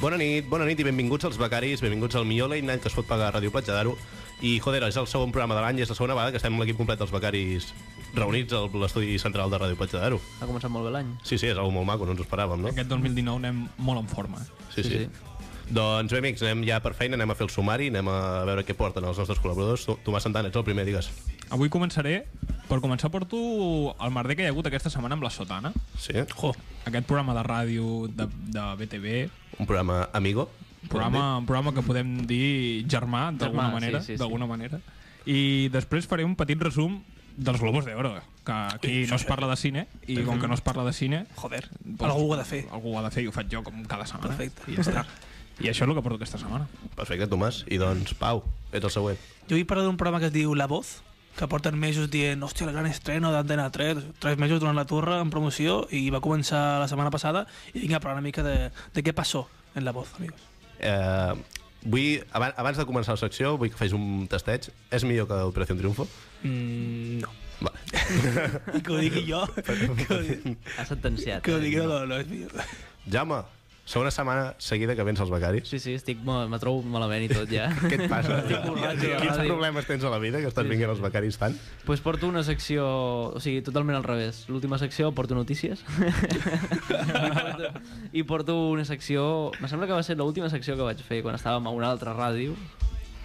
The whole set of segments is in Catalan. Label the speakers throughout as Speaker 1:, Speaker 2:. Speaker 1: Bona nit, bona nit i benvinguts als becaris, benvinguts al millor late night que es pot pagar a Ràdio Platja d'Aro. I, joder, és el segon programa de l'any, és la segona vegada que estem l'equip complet dels becaris reunits a l'estudi central de Ràdio Platja d'Aro.
Speaker 2: Ha començat molt bé l'any.
Speaker 1: Sí, sí, és algo molt maco, no ens ho esperàvem, no?
Speaker 3: Aquest 2019 anem molt en forma.
Speaker 1: Sí, sí. sí. Doncs bé, amics, anem ja per feina, anem a fer el sumari, anem a veure què porten els nostres col·laboradors. Tu- Tomàs Santana, ets el primer, digues.
Speaker 3: Avui començaré... Per començar porto el merder que hi ha hagut aquesta setmana amb la Sotana.
Speaker 1: Sí? Jo.
Speaker 3: Aquest programa de ràdio de, de BTV,
Speaker 1: Un programa amigo.
Speaker 3: programa, programa que podem dir germà, d'alguna
Speaker 2: Germà,
Speaker 3: manera.
Speaker 2: sí, sí, sí.
Speaker 3: d'alguna manera. I després faré un petit resum dels Globos d'Oro, que aquí no es parla de cine, i com que no es parla de cine... doncs
Speaker 4: Joder, algú ho ha de fer.
Speaker 3: Algú ho ha de fer i ho faig jo com cada setmana.
Speaker 4: Perfecte.
Speaker 3: I ja està. I això és el que porto aquesta setmana.
Speaker 1: Perfecte, Tomàs. I doncs, Pau, ets el següent.
Speaker 4: Jo vull parlar d'un programa que es diu La Voz, que porten mesos dient, hòstia, el gran estreno d'Antena 3, tres mesos durant la torre en promoció i va començar la setmana passada i vinc a parlar una mica de, de què passó en La Voz, amigos.
Speaker 1: Eh, vull, abans, abans de començar la secció, vull que facis un tasteig. És millor que Operació Triunfo?
Speaker 4: Mm, no.
Speaker 1: Va.
Speaker 4: I que ho digui jo, que ho, di-
Speaker 2: Ha sentenciat.
Speaker 4: que ho
Speaker 2: eh?
Speaker 4: digui no, no, no és millor.
Speaker 1: Jaume, segona setmana seguida que vens als becaris.
Speaker 2: Sí, sí, estic molt, me trobo malament i tot ja.
Speaker 1: Què et passa?
Speaker 2: borratxo,
Speaker 1: Quins
Speaker 2: ràdio.
Speaker 1: problemes tens a la vida que estàs
Speaker 2: Sí,
Speaker 1: vinguent
Speaker 2: sí,
Speaker 1: als
Speaker 2: sí.
Speaker 1: becaris tant?
Speaker 2: pues porto una secció, o sigui, totalment al revés. L'última secció porto notícies. I porto- I porto una secció... Me sembla que va ser l'última secció que vaig fer quan estàvem a una altra ràdio.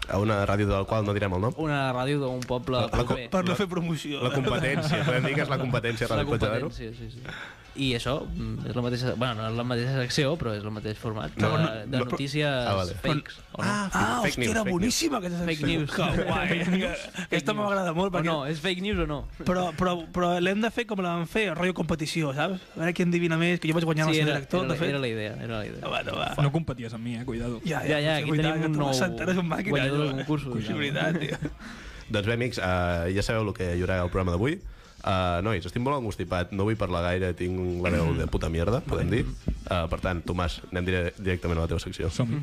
Speaker 1: A una ràdio del qual no direm el nom.
Speaker 2: Una ràdio d'un poble
Speaker 1: La- la co-
Speaker 2: proper.
Speaker 4: Per no fer promoció.
Speaker 1: La competència, podem dir que és la competència.
Speaker 2: la
Speaker 1: Ràdio Platja d'Aro.
Speaker 2: competència, sí, sí. I això mm, és la mateixa... Bueno, no és la mateixa secció, però és el mateix format de,
Speaker 1: No, no,
Speaker 2: de
Speaker 1: no, però-
Speaker 2: notícies
Speaker 1: Ah, vale.
Speaker 2: fakes. o no?
Speaker 4: Ah, ah
Speaker 1: fake
Speaker 4: hòstia,
Speaker 1: news,
Speaker 4: era
Speaker 1: fake
Speaker 4: boníssima aquesta
Speaker 2: Fake
Speaker 4: secció.
Speaker 2: news.
Speaker 4: Que guai. Aquesta m'agrada molt
Speaker 2: O
Speaker 4: perquè...
Speaker 2: no, eh? és fake news o no?
Speaker 4: Però, però, però l'hem de fer com la van fer, rotllo competició, saps? A veure qui endevina més, que jo vaig guanyar sí, el
Speaker 2: era,
Speaker 4: seu director,
Speaker 2: era,
Speaker 4: de fet. Ah,
Speaker 2: era la idea, era la idea.
Speaker 4: No va, no va.
Speaker 3: No competies amb mi, eh? Cuidado.
Speaker 4: Ja,
Speaker 2: Ja, ja, aquí
Speaker 4: sí,
Speaker 2: tenim
Speaker 4: veritat,
Speaker 2: un
Speaker 4: que
Speaker 2: nou
Speaker 4: Tomàs Santana és un màquina,
Speaker 2: guanyador
Speaker 4: jo,
Speaker 2: de
Speaker 4: eh?
Speaker 2: concursos,
Speaker 4: És
Speaker 2: ja.
Speaker 4: veritat, tio.
Speaker 1: Doncs bé, amics, uh, ja sabeu el que hi haurà al programa d'avui. Uh, nois, estic molt angustipat, no vull parlar gaire, tinc la veu de puta mierda,
Speaker 2: Mm.
Speaker 1: podem dir. Uh, per tant, Tomàs, anem dire directament a la teva secció.
Speaker 3: som -hi.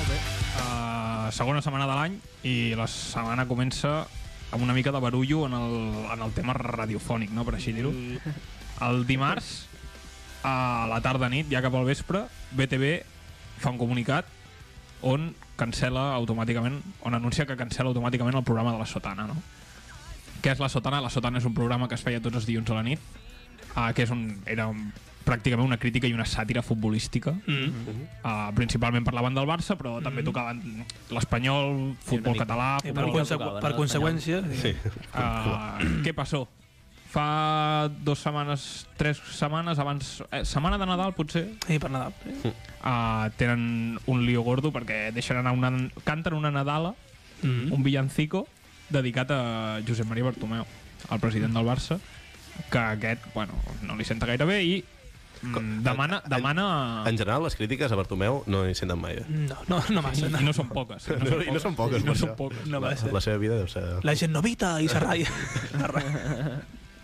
Speaker 3: Uh, segona setmana de l'any i la setmana comença amb una mica de barullo en el, en el tema radiofònic, no? per així dir-ho. El dimarts, a la tarda nit, ja cap al vespre, BTV fa un comunicat on cancela automàticament, on anuncia que cancela automàticament el programa de la Sotana, no? Què és la Sotana? La Sotana és un programa que es feia tots els dilluns a la nit, uh, que és un, era un, pràcticament una crítica i una sàtira futbolística.
Speaker 2: Mm-hmm.
Speaker 4: Mm.
Speaker 3: Uh, principalment parlaven del Barça, però també tocaven l'espanyol, futbol
Speaker 2: mica.
Speaker 3: català...
Speaker 4: I Eh, per,
Speaker 3: futbol-
Speaker 4: consequ
Speaker 2: tocava,
Speaker 4: per
Speaker 2: no?
Speaker 4: conseqüència... eh? Sí.
Speaker 3: Uh, què passó? Fa dues setmanes, tres setmanes abans... Eh, setmana de Nadal, potser?
Speaker 4: I Eh, per Nadal. Sí.
Speaker 3: Uh, tenen un lío gordo perquè deixen anar una... Canten una Nadala,
Speaker 2: Mm-hmm.
Speaker 4: Mm.
Speaker 3: un villancico, dedicat a Josep Maria Bartomeu, el president del Barça, que aquest, bueno, no li senta gaire bé i mm, demana... demana
Speaker 1: En general, les crítiques a Bartomeu no hi senten mai. Eh?
Speaker 4: No, no, no massa.
Speaker 3: I,
Speaker 4: No.
Speaker 3: I no són poques. I
Speaker 1: No, i no són poques,
Speaker 3: I no
Speaker 1: per
Speaker 3: són
Speaker 1: això.
Speaker 3: poques.
Speaker 4: No
Speaker 1: La,
Speaker 4: va ser.
Speaker 1: la seva vida deu ser...
Speaker 4: La gent no vita i s'arraia.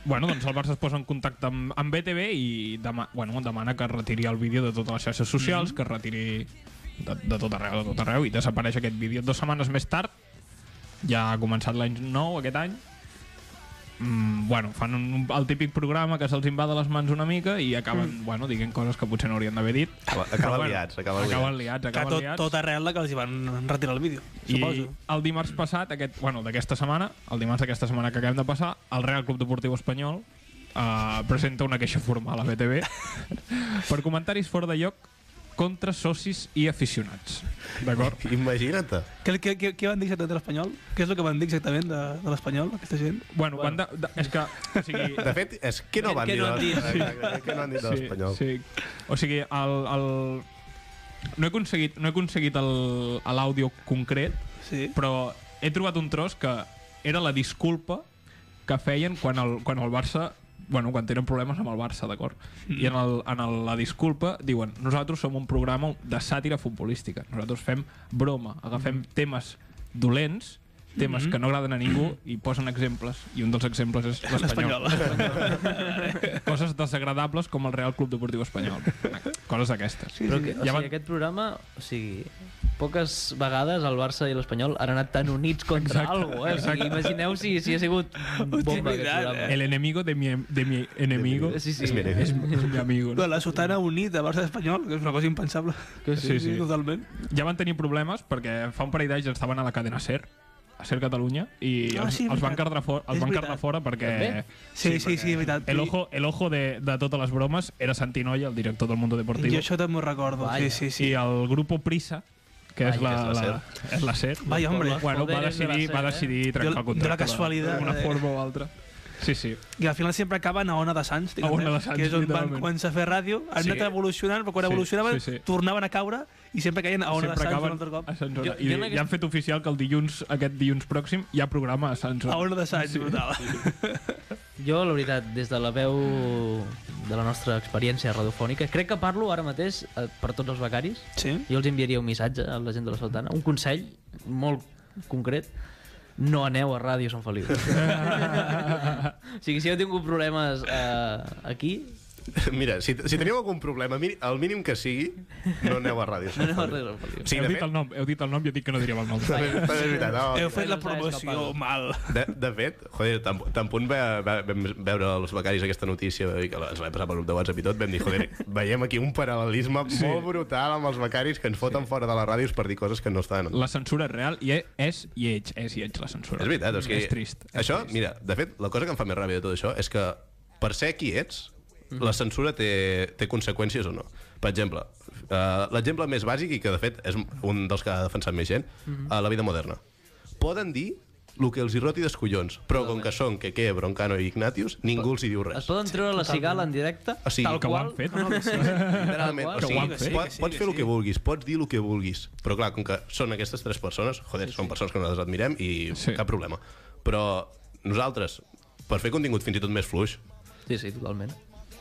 Speaker 3: Bueno, doncs el Barça es posa en contacte amb, amb BTV i dema bueno, demana que retiri el vídeo de totes les xarxes socials, mm
Speaker 4: Mhm.
Speaker 3: -hmm. que retiri de, de tot arreu, de tot arreu, i desapareix aquest vídeo. Dues setmanes més tard, ja ha començat l'any nou aquest any, mm, bueno, fan un, un, el típic programa que se'ls invada les mans una mica i acaben, mm. bueno, diguent coses que potser no haurien d'haver dit.
Speaker 1: Acaba- acaba
Speaker 3: Però,
Speaker 1: liats, acaba
Speaker 3: acaben liats.
Speaker 4: que
Speaker 3: Acaben
Speaker 4: tot,
Speaker 3: liats.
Speaker 4: tot arrel la que els hi van retirar el vídeo,
Speaker 3: I
Speaker 4: suposo.
Speaker 3: el dimarts passat, aquest, bueno, d'aquesta setmana, el dimarts d'aquesta setmana que acabem de passar, el Real Club Deportiu Espanyol eh, presenta una queixa formal a BTV per comentaris fora de lloc contra socis i aficionats. D'acord?
Speaker 1: Imagina't.
Speaker 4: Què, què, què, què van dir exactament de l'Espanyol? Què és el que van dir exactament de, de l'Espanyol, aquesta gent?
Speaker 3: Bueno, bueno. De, de, és que... O sigui,
Speaker 1: De fet, és que no van
Speaker 2: Què
Speaker 1: dir
Speaker 2: no han dit?
Speaker 1: de- que no han dit de l'Espanyol.
Speaker 3: Sí, sí. O sigui, el, el, no he aconseguit, no he aconseguit el- l'àudio concret,
Speaker 4: Sí.
Speaker 3: però he trobat un tros que era la disculpa que feien quan el, quan el Barça bueno, quan tenen problemes amb el Barça, d'acord? I en, el, en el, la disculpa diuen nosaltres som un programa de sàtira futbolística. Nosaltres fem broma, agafem
Speaker 2: Mm.
Speaker 3: temes dolents, temes que no agraden a ningú i posen exemples. I un dels exemples és l'espanyol. Coses desagradables com el Real Club Deportiu Espanyol. Coses d'aquestes.
Speaker 2: Però que, o
Speaker 3: Ja
Speaker 2: sigui,
Speaker 3: van-
Speaker 2: aquest programa, o sigui, poques vegades el Barça i l'Espanyol han anat tan units contra
Speaker 3: Exacte,
Speaker 2: alguna cosa. Eh? O sigui, imagineu si, si ha sigut bomba aquest
Speaker 4: veritat,
Speaker 2: programa.
Speaker 3: El enemigo de mi, de mi enemigo
Speaker 2: Sí, sí.
Speaker 1: És mi enemigo.
Speaker 3: es mi amigo.
Speaker 4: Clar, La sotana unida Barça espanyol, que és una cosa impensable.
Speaker 2: Que sí,
Speaker 3: sí.
Speaker 4: Totalment.
Speaker 3: Ja van tenir problemes perquè fa un parell d'anys estaven a la cadena SER, a SER Catalunya, i
Speaker 4: Ah,
Speaker 3: els,
Speaker 4: sí, és
Speaker 3: els van
Speaker 4: veritat.
Speaker 3: cardre, for, els
Speaker 4: És
Speaker 3: van cardre
Speaker 4: veritat.
Speaker 3: fora perquè...
Speaker 2: També?
Speaker 4: Sí, sí, sí, sí, veritat.
Speaker 3: El ojo, el ojo de, de totes les bromes era Santinoy, el director del Mundo Deportivo.
Speaker 4: Jo això també ho recordo,
Speaker 2: Vaya.
Speaker 4: sí, sí,
Speaker 3: sí. i
Speaker 4: sí.
Speaker 3: el grupo Prisa, que és la,
Speaker 1: Ai, que és la
Speaker 3: la, és la SER.
Speaker 4: Vaya, hombre.
Speaker 3: Bueno, va
Speaker 2: Poderes de la
Speaker 3: decidir,
Speaker 2: SER,
Speaker 3: va
Speaker 2: eh?
Speaker 3: decidir trencar
Speaker 4: De-
Speaker 3: el contracte.
Speaker 4: de la casualitat,
Speaker 3: D'alguna
Speaker 4: eh?
Speaker 3: forma o altra. Sí, sí.
Speaker 4: I al final sempre acaben a Ona de Sants, diguem,
Speaker 3: Ona de Sants,
Speaker 4: que és on van
Speaker 3: literalment.
Speaker 4: començar a fer ràdio, han
Speaker 3: Sí.
Speaker 4: anat evolucionant, però quan
Speaker 3: Sí,
Speaker 4: evolucionaven
Speaker 3: sí, sí.
Speaker 4: tornaven a caure i sempre caien a Ona de
Speaker 3: Sempre
Speaker 4: Sants un
Speaker 3: acaben
Speaker 4: altre cop.
Speaker 3: a Sant Joan.
Speaker 2: Jo-
Speaker 3: I
Speaker 2: jo en
Speaker 3: ja han
Speaker 2: aquest-
Speaker 3: fet oficial que el dilluns, aquest dilluns pròxim, hi ha programa a Sant
Speaker 4: A
Speaker 3: Joan.
Speaker 4: Ona de Sants, brutal.
Speaker 2: Jo, la veritat, des de la veu de la nostra experiència radiofònica, crec que parlo ara mateix eh, per tots els becaris.
Speaker 4: Sí?
Speaker 2: Jo els enviaria un missatge a la gent de la Sultana, un consell molt concret. No aneu a Ràdio Sant Feliu. o sigui, si heu tingut problemes eh, aquí,
Speaker 1: Mira, si, si teniu algun problema, mi- el mínim que sigui, no aneu a ràdio.
Speaker 2: no aneu a Ràdio Sant Feliu.
Speaker 1: Sí,
Speaker 3: heu
Speaker 1: de
Speaker 3: dit
Speaker 1: fet,
Speaker 3: el nom, heu dit el nom, jo dic que no diríem el nom.
Speaker 1: també- també és veritat. no,
Speaker 4: Heu fet la
Speaker 2: no s'ha
Speaker 4: promoció
Speaker 2: escapat.
Speaker 4: mal.
Speaker 1: De, de fet, joder, tan, tan punt va, va, vam veure els becaris aquesta notícia i que ens va passar pel grup de WhatsApp i tot, vam dir, joder, veiem aquí un paral·lelisme sí. molt brutal amb els becaris que ens foten sí. fora de les ràdios per dir coses que no estan.
Speaker 3: La censura és real i és, és lleig, és lleig la censura.
Speaker 1: És veritat, és que...
Speaker 3: És trist. és
Speaker 1: Això,
Speaker 3: trist.
Speaker 1: mira, de fet, la cosa que em fa més ràbia de tot això és que per ser qui ets,
Speaker 3: Mhm.
Speaker 1: la censura té, té conseqüències o no. Per exemple, uh, l'exemple més bàsic i que de fet és un dels que ha defensat més gent,
Speaker 3: Mhm.
Speaker 1: a la vida moderna. Poden dir el que els hi roti dels collons, però com que són Keke, Broncano i Ignatius, ningú els hi diu
Speaker 2: Es
Speaker 1: res.
Speaker 2: poden treure la cigala en directe,
Speaker 1: O sigui,
Speaker 2: tal
Speaker 3: que ho
Speaker 2: qual...
Speaker 3: han fet.
Speaker 2: No, no, sí.
Speaker 1: Literalment, o
Speaker 2: Que
Speaker 1: sigui,
Speaker 3: ho han fet.
Speaker 1: pots,
Speaker 4: Sí, que sí,
Speaker 1: pots
Speaker 4: que
Speaker 1: fer el
Speaker 4: sí.
Speaker 1: que vulguis, pots dir el que vulguis, però clar, com que són aquestes tres persones, joder, són persones que nosaltres admirem i
Speaker 3: Sí.
Speaker 1: cap problema. Però nosaltres, per fer contingut fins i tot més fluix,
Speaker 2: sí, sí, totalment.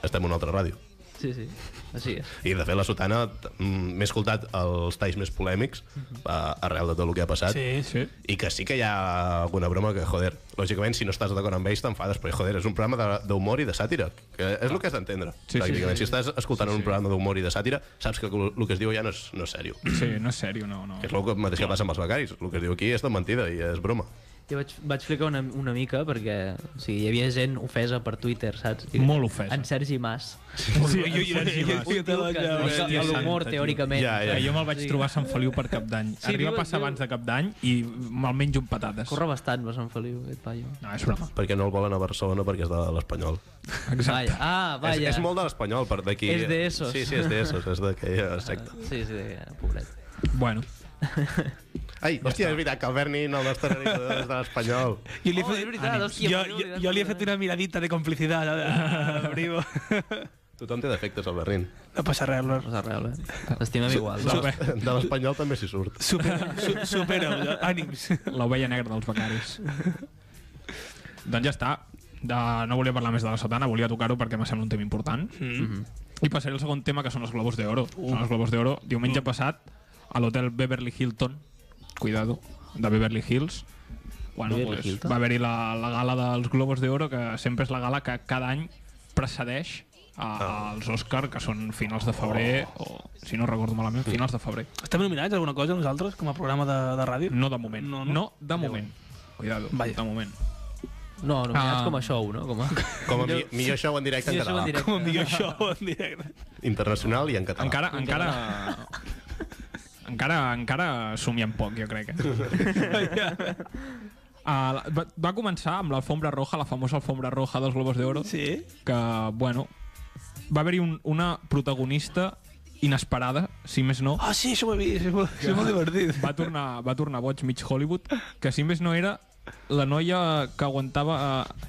Speaker 1: estem a una altra ràdio.
Speaker 2: Sí, sí, així és.
Speaker 1: I de fet, la Sotana t- mm, m'he escoltat els talls més polèmics a- arrel de tot el que ha passat.
Speaker 4: Mhm. Sí, sí.
Speaker 3: Sí.
Speaker 1: I que sí que hi ha alguna broma que, joder, lògicament, si no estàs d'acord amb ells, t'enfades, però, joder, és un programa de- d'humor i de sàtira, que és el que has d'entendre.
Speaker 3: Sí, sí,
Speaker 1: pràcticament.
Speaker 3: sí.
Speaker 1: Si estàs escoltant un programa d'humor i de sàtira, saps que el que es diu ja no és, no és seriós.
Speaker 3: Sí, no és sèrio, no. no.
Speaker 1: Que és el que- mateix que passa amb els becaris. El que es diu aquí és tot mentida i és broma.
Speaker 2: Jo vaig, vaig flicar una, una mica perquè o sigui, hi havia gent ofesa per Twitter, saps?
Speaker 3: Molt ofesa.
Speaker 2: En Sergi Mas.
Speaker 3: Sí,
Speaker 4: Ui, ui, ui, ui, ui,
Speaker 2: Diu que
Speaker 3: Hòstia
Speaker 2: que l'humor,
Speaker 3: santa, tio.
Speaker 2: teòricament.
Speaker 1: Ja, ja.
Speaker 3: Eh, jo me'l
Speaker 2: O
Speaker 3: vaig
Speaker 2: sigui,
Speaker 3: trobar a Sant Feliu per cap d'any.
Speaker 2: Sí,
Speaker 3: Arriba
Speaker 2: diu-
Speaker 3: a passar
Speaker 2: diu-
Speaker 3: abans de cap d'any i me'l menjo amb patates.
Speaker 2: Corre bastant per Sant Feliu, aquest paio.
Speaker 3: No, és broma.
Speaker 1: Perquè no el volen a Barcelona perquè és de l'Espanyol.
Speaker 2: Vaya. Ah,
Speaker 1: És,
Speaker 2: vaya.
Speaker 1: és molt de l'Espanyol, per d'aquí.
Speaker 2: És de esos.
Speaker 1: Sí, sí, és de esos, és d'aquella secta.
Speaker 2: Sí, sí, pobret.
Speaker 3: Bueno,
Speaker 1: Ai, hòstia, és veritat que el Berni, no, el nostre realitzador, és de l'Espanyol.
Speaker 4: Jo li he
Speaker 2: Oh,
Speaker 4: fet,
Speaker 2: és veritat, hòstia,
Speaker 4: jo,
Speaker 2: me n'he
Speaker 4: jo,
Speaker 2: oblidat
Speaker 4: jo li he fet
Speaker 2: completament.
Speaker 4: una miradita de complicitat eh, a Brimo.
Speaker 1: Tothom té defectes, el Bernin.
Speaker 4: No passa res, Lord.
Speaker 2: No és real, eh? L'estimem igual.
Speaker 1: De l'Es- de l'Espanyol també s'hi surt.
Speaker 4: Supera, su, supera, ànims.
Speaker 3: l'ovella negra dels becaris. doncs ja està. De, no volia parlar més de la satana, volia tocar-ho perquè em sembla un tema important. Mm -hmm. I passaré al segon tema, que són els Globos d'Oro. Uh. Mm. Són els Globos d'Oro. Diumenge passat, a l'hotel Beverly Hilton, cuidado, de Beverly Hills, bueno,
Speaker 2: Beverly
Speaker 3: pues,
Speaker 2: Hilton?
Speaker 3: va haver-hi la, la gala dels Globos d'Oro, que sempre és la gala que cada any precedeix a- als Oscar, que són finals de febrer, o, si no recordo malament, finals de febrer.
Speaker 4: Estem nominats a alguna cosa nosaltres, com a programa de, de ràdio?
Speaker 3: No de moment.
Speaker 4: No,
Speaker 3: No,
Speaker 4: no.
Speaker 3: no. de moment. Cuidado,
Speaker 4: Vaya.
Speaker 3: de moment.
Speaker 2: No, nominats
Speaker 3: Ah.
Speaker 2: com a show, no? Com a...
Speaker 1: Com a mi, millor show en directe en
Speaker 2: Millor show en
Speaker 1: català.
Speaker 2: directe.
Speaker 4: Com a millor show en directe.
Speaker 1: Internacional i en català.
Speaker 3: Encara, encara... Encara, encara somiem poc, jo crec. Eh? Ah, la- va, va començar amb l'alfombra roja, la famosa alfombra roja dels Globos d'Oro,
Speaker 4: Sí?
Speaker 3: que, bueno, va haver-hi un, una protagonista inesperada, si més no,
Speaker 4: Ah, sí, això ho he vist, és molt, és molt divertit.
Speaker 3: va tornar, va tornar boig mig Hollywood, que si més no era la noia que aguantava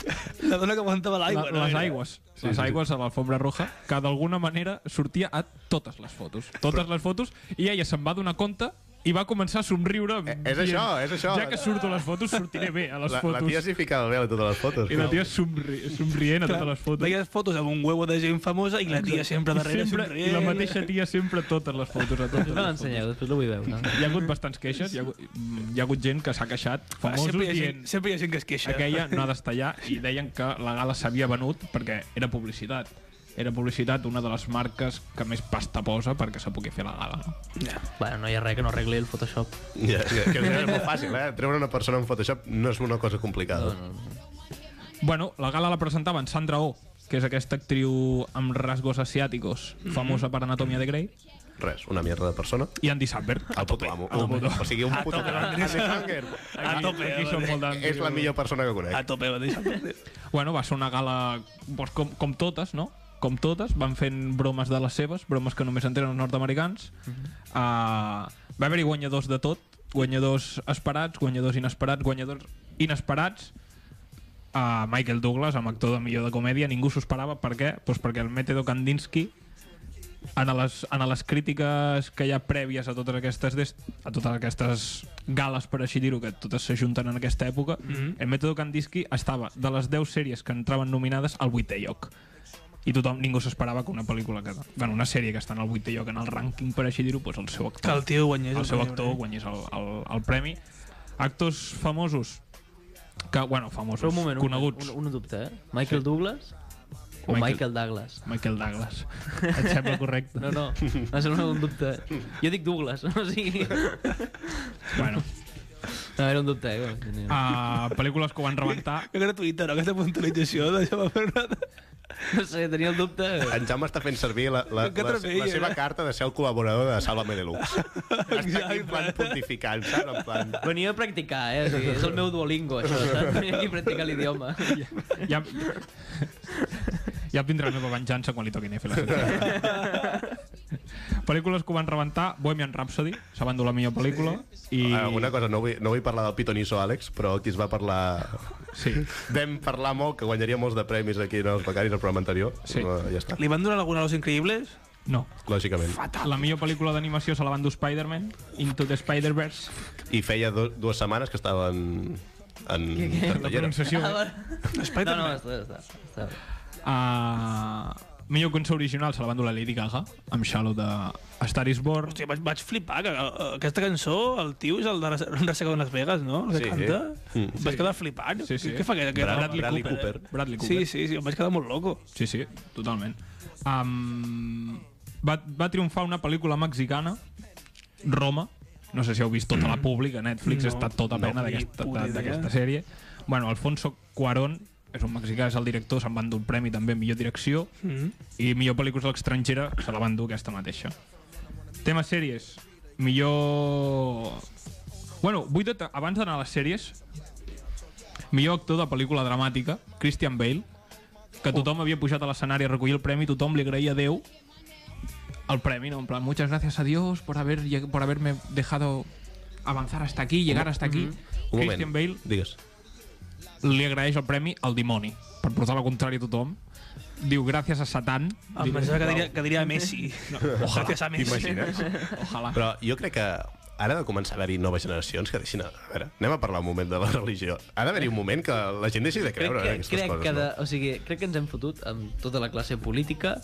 Speaker 3: eh,
Speaker 4: La dona que aguantava
Speaker 3: La-
Speaker 4: l'aigua.
Speaker 3: les
Speaker 4: era?
Speaker 3: aigües. les aigües a l'alfombra roja, que d'alguna manera sortia a totes les fotos. Totes les fotos, i ella se'n va donar compte i va començar a somriure.
Speaker 1: Eh, és
Speaker 3: dient,
Speaker 1: això, és això.
Speaker 3: Ja que surto a les fotos, sortiré bé a les
Speaker 1: La, la
Speaker 3: fotos.
Speaker 1: tia s'hi ficava bé a totes les fotos.
Speaker 3: I la tia somri, somrient a totes les fotos.
Speaker 4: Veies fotos amb un huevo de gent famosa i la tia sempre
Speaker 3: I
Speaker 4: darrere
Speaker 3: sempre, I la
Speaker 4: somrient.
Speaker 3: mateixa tia sempre a totes les fotos. A totes
Speaker 2: Després me
Speaker 3: les fotos.
Speaker 2: l'ensenyeu, després la vull veure.
Speaker 3: Hi ha hagut bastants queixes, hi ha hagut, mm, hi ha hagut gent que s'ha queixat,
Speaker 4: Ah,
Speaker 3: famosos,
Speaker 4: sempre, hi ha gent,
Speaker 3: dient...
Speaker 4: sempre hi ha gent que es queixa.
Speaker 3: Aquella no ha d'estar allà i deien que la gala s'havia venut perquè era publicitat. era publicitat una de les marques que més pasta posa perquè se pugui fer la gala. No?
Speaker 4: Ja.
Speaker 2: Bueno, no hi ha res que no arregli el Photoshop.
Speaker 1: Ja, ja, que és molt fàcil, eh? Treure una persona en Photoshop no és una cosa complicada. No, no.
Speaker 3: Bueno, la gala la presentaven Sandra Oh, que és aquesta actriu amb rasgos asiàticos, famosa per Anatomia de Grey,
Speaker 1: Res, una mierda de persona.
Speaker 3: i Andy Samberg.
Speaker 1: El puto amo. Un, o sigui, un puto gran. Andy Sanger
Speaker 4: A tope,
Speaker 3: Aquí
Speaker 4: eh,
Speaker 3: són molt d'Andy
Speaker 1: és la millor persona que
Speaker 4: A
Speaker 1: conec.
Speaker 4: tope, va deixar.
Speaker 3: Bueno, va ser una gala doncs, com, com totes, no? Com totes, van fent bromes de les seves, bromes que només entenen els nord-americans. Uh va haver-hi guanyadors de tot, guanyadors esperats, guanyadors inesperats, guanyadors inesperats. Uh, Michael Douglas, amb actor de millor de comèdia, ningú s'ho esperava. Per què? Doncs perquè el Método Kandinsky en les, en les crítiques que hi ha prèvies a totes aquestes, des, a totes aquestes gales, per així dir-ho, que totes s'ajunten en aquesta època, mm
Speaker 4: Mhm.
Speaker 3: -hmm. el Método Kandinsky estava de les 10 sèries que entraven nominades al 8è lloc. I tothom, ningú s'esperava que una pel·lícula que... Bueno, una sèrie que està en el 8è lloc en el rànquing, per així dir-ho, doncs el seu actor
Speaker 4: Que el tio guanyés.
Speaker 3: el seu
Speaker 4: premi
Speaker 3: actor
Speaker 4: Bravo.
Speaker 3: guanyés el, el, el premi. Actors famosos, que, bueno,
Speaker 2: Però
Speaker 3: famosos,
Speaker 2: un moment, un,
Speaker 3: coneguts.
Speaker 2: un, un dubte, eh? Michael sí. Douglas o Michael, Michael
Speaker 3: Michael-
Speaker 2: Douglas?
Speaker 3: Michael Douglas. Et sembla correcte?
Speaker 2: No, no, em sembla un dubte. Jo dic Douglas, o sigui... No,
Speaker 3: Bueno,
Speaker 2: era un dubte, eh? Ah.
Speaker 3: uh, pel·lícules que ho van rebentar,
Speaker 4: Que gratuïta, no? Aquesta puntualització de Jaume Fernández.
Speaker 2: No sé, tenia el dubte.
Speaker 1: En Jaume està fent servir la, la,
Speaker 4: Que
Speaker 1: la, la,
Speaker 4: trapella,
Speaker 1: seva
Speaker 4: eh?
Speaker 1: carta de ser el col·laborador de Sálvame Deluxe. Està aquí en plan
Speaker 4: Exacte.
Speaker 1: pontificant, saps? En plan...
Speaker 2: Venia a practicar, eh? O sigui, és el meu Duolingo, això, saps? Venia aquí a practicar l'idioma.
Speaker 3: ja, ja vindrà la meva venjança quan li toquin fer la seva. Pel·lícules que ho van rebentar, Bohemian Rhapsody, se van dur la millor pel·lícula, i...
Speaker 1: Ah, Una cosa, no vull, no vull parlar del pitoniso, Àlex, però aquí es va parlar...
Speaker 3: Sí.
Speaker 1: Vam parlar molt, que guanyaria molts de premis aquí en els becaris al programa anterior.
Speaker 3: Sí.
Speaker 1: No, ja està,
Speaker 4: Li van donar alguna a los increïbles?
Speaker 3: No.
Speaker 1: lògicament.
Speaker 3: La millor pel·lícula d'animació se la van dur Spider-Man, Into the Spider-Verse,
Speaker 1: I feia do, dues setmanes que estava en... en
Speaker 3: la
Speaker 1: cartellera.
Speaker 3: pronunciació...
Speaker 2: Ah,
Speaker 3: Uh,
Speaker 2: va. No, no, està, està. està.
Speaker 3: Ah, millor cançó original se la van dur la Lady Gaga, amb Shallow de A Star is Born.
Speaker 4: Hòstia, vaig, vaig flipar, que eh, aquesta cançó, el tio és el de Rese- Resaca de Las Vegas, no? El que
Speaker 1: Sí.
Speaker 4: canta.
Speaker 1: Mm.
Speaker 4: Em vaig quedar flipant.
Speaker 3: Sí, sí.
Speaker 4: Què fa aquest? aquest
Speaker 1: Bradley
Speaker 4: home?
Speaker 1: Bradley Cooper.
Speaker 3: Cooper. Bradley Cooper.
Speaker 4: Sí, sí, sí, em vaig quedar molt loco.
Speaker 3: Sí, sí, totalment. Um, va, va triomfar una pel·lícula mexicana, Roma. No sé si heu vist tota la pública, Netflix
Speaker 4: No.
Speaker 3: no, està tota
Speaker 1: No.
Speaker 3: plena d'aquesta-
Speaker 4: Ni puta
Speaker 3: de- d'aquesta
Speaker 4: idea.
Speaker 3: sèrie. Bueno, Alfonso Cuarón, és un mexicà, és el director, se'n van dur el premi també a millor direcció
Speaker 4: Mm.
Speaker 3: i millor pel·lícula estrangera se la van dur aquesta mateixa. Tema sèries. Millor... Bueno, vull deta- abans d'anar a les sèries, millor actor de pel·lícula dramàtica, Christian Bale, que tothom havia pujat a l'escenari a recollir el premi, tothom li agraïa a Déu el premi, no? En plan, muchas gracias a Dios por, haber, lleg- por haberme dejado avanzar hasta aquí, llegar hasta aquí.
Speaker 1: Un moment,
Speaker 3: Christian Bale
Speaker 1: digues.
Speaker 3: li agraeix el premi al dimoni, per portar la contrària a tothom. Diu, gràcies a Satan.
Speaker 4: Em pensava que diria, que diria Messi. No. Ojalà. Que Messi.
Speaker 1: T'imagines?
Speaker 3: Ojalà.
Speaker 1: Però jo crec que ara ha de començar a haver-hi noves generacions que deixin... A a veure, anem a parlar un moment de la religió. Ha d'haver-hi un moment que la gent deixi de
Speaker 2: Crec
Speaker 1: creure en
Speaker 2: que,
Speaker 1: aquestes
Speaker 2: crec,
Speaker 1: coses.
Speaker 2: que de,
Speaker 1: no?
Speaker 2: o sigui, crec que ens hem fotut amb tota la classe política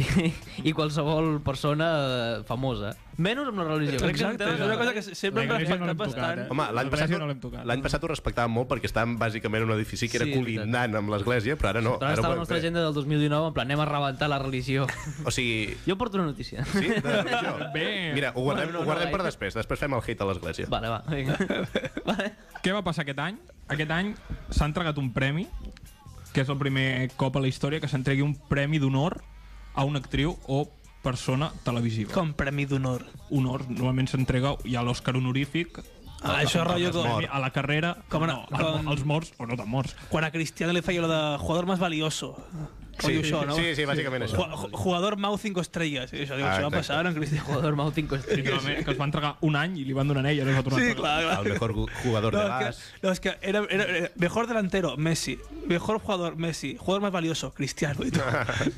Speaker 2: i, i qualsevol persona eh, famosa. Menys amb la religió. Crec que és un
Speaker 4: Exacte,
Speaker 2: tema
Speaker 4: és una cosa que sempre
Speaker 3: La
Speaker 4: hem
Speaker 3: Iglesia no
Speaker 4: respectat
Speaker 3: l'hem tocat,
Speaker 4: bastant.
Speaker 3: eh?
Speaker 1: Home, l'any
Speaker 3: La
Speaker 1: passat,
Speaker 3: Iglesia no l'hem tocat.
Speaker 1: l'any passat ho respectàvem molt perquè estàvem bàsicament en un edifici que era
Speaker 2: Sí, és veritat.
Speaker 1: col·linant amb l'església, però eh. ara no.
Speaker 2: Però ara
Speaker 1: ho
Speaker 2: està la nostra
Speaker 1: podem fer.
Speaker 2: agenda del 2019 en plan, anem a rebentar la religió.
Speaker 1: O sigui...
Speaker 2: Jo porto una notícia.
Speaker 1: Sí, de religió.
Speaker 3: Bé.
Speaker 1: Mira, ho guardem,
Speaker 2: Bueno, no,
Speaker 1: ho guardem
Speaker 2: no,
Speaker 1: per
Speaker 2: eh?
Speaker 1: després. Després fem el hate a l'església.
Speaker 2: Vale, va, vinga. Vale.
Speaker 3: Què va passar aquest any? Aquest any s'ha entregat un premi, que és el primer cop a la història que s'entregui un premi d'honor a una actriu o persona televisiva.
Speaker 4: Com premi d'honor.
Speaker 3: Honor, normalment s'entrega i a l'Oscar honorífic,
Speaker 4: Ah, això rotllo
Speaker 1: es
Speaker 4: com...
Speaker 1: mor.
Speaker 3: premi a la carrera,
Speaker 4: Com
Speaker 3: no,
Speaker 4: una-
Speaker 3: al-
Speaker 4: com-
Speaker 3: als morts o no tan morts.
Speaker 4: Quan a Cristiano li feia lo de jugador más valioso. Sí, això, no?
Speaker 1: sí, sí, bàsicament
Speaker 4: Ju-
Speaker 1: això.
Speaker 4: ju- Jugador Mau 5 estrelles. Això, diu,
Speaker 1: Ah,
Speaker 4: això
Speaker 1: exacte.
Speaker 4: va passar en Cristiano.
Speaker 2: Jugador Mau 5
Speaker 3: Que,
Speaker 2: estrellas.
Speaker 3: normalment- que es va entregar un any i li van donar a ella, no es va tornar a
Speaker 4: Sí,
Speaker 3: entregar.
Speaker 4: clar, clar.
Speaker 1: El mejor gu- jugador de
Speaker 4: No, es
Speaker 1: bas...
Speaker 4: que, no, es que era, era- era mejor delantero, Messi. Mejor jugador, Messi. Jugador más valioso, Cristiano. Y todo.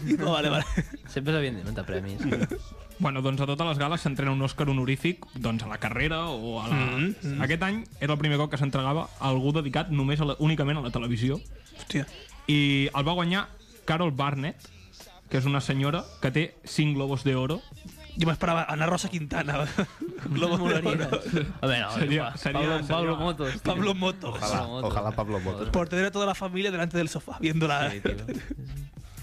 Speaker 4: Y todo, vale, vale.
Speaker 2: Sempre s'havien d'inventar premis.
Speaker 3: Bueno, doncs a totes les gales s'entrena un Òscar honorífic doncs a la carrera o a la...
Speaker 4: Mm-hmm,
Speaker 3: Mm -hmm. Aquest any era el primer cop que s'entregava a algú dedicat només a la, únicament a la televisió
Speaker 4: Hostia.
Speaker 3: i el va guanyar Carol Barnett que és una senyora que té 5 globos d'oro
Speaker 4: Yo me esperaba a Ana Rosa Quintana. Globo de
Speaker 2: Molaria.
Speaker 4: oro.
Speaker 2: A veure, no,
Speaker 3: Seria-
Speaker 2: pa-
Speaker 3: seria-
Speaker 2: Pablo,
Speaker 3: seria-
Speaker 2: Pablo Motos. tio.
Speaker 4: Pablo Motos.
Speaker 1: Ojalá,
Speaker 2: Pablo Motos.
Speaker 1: ojalá Pablo Motos.
Speaker 4: Por tener a toda la familia delante del sofá, viéndola.
Speaker 2: Sí, tio.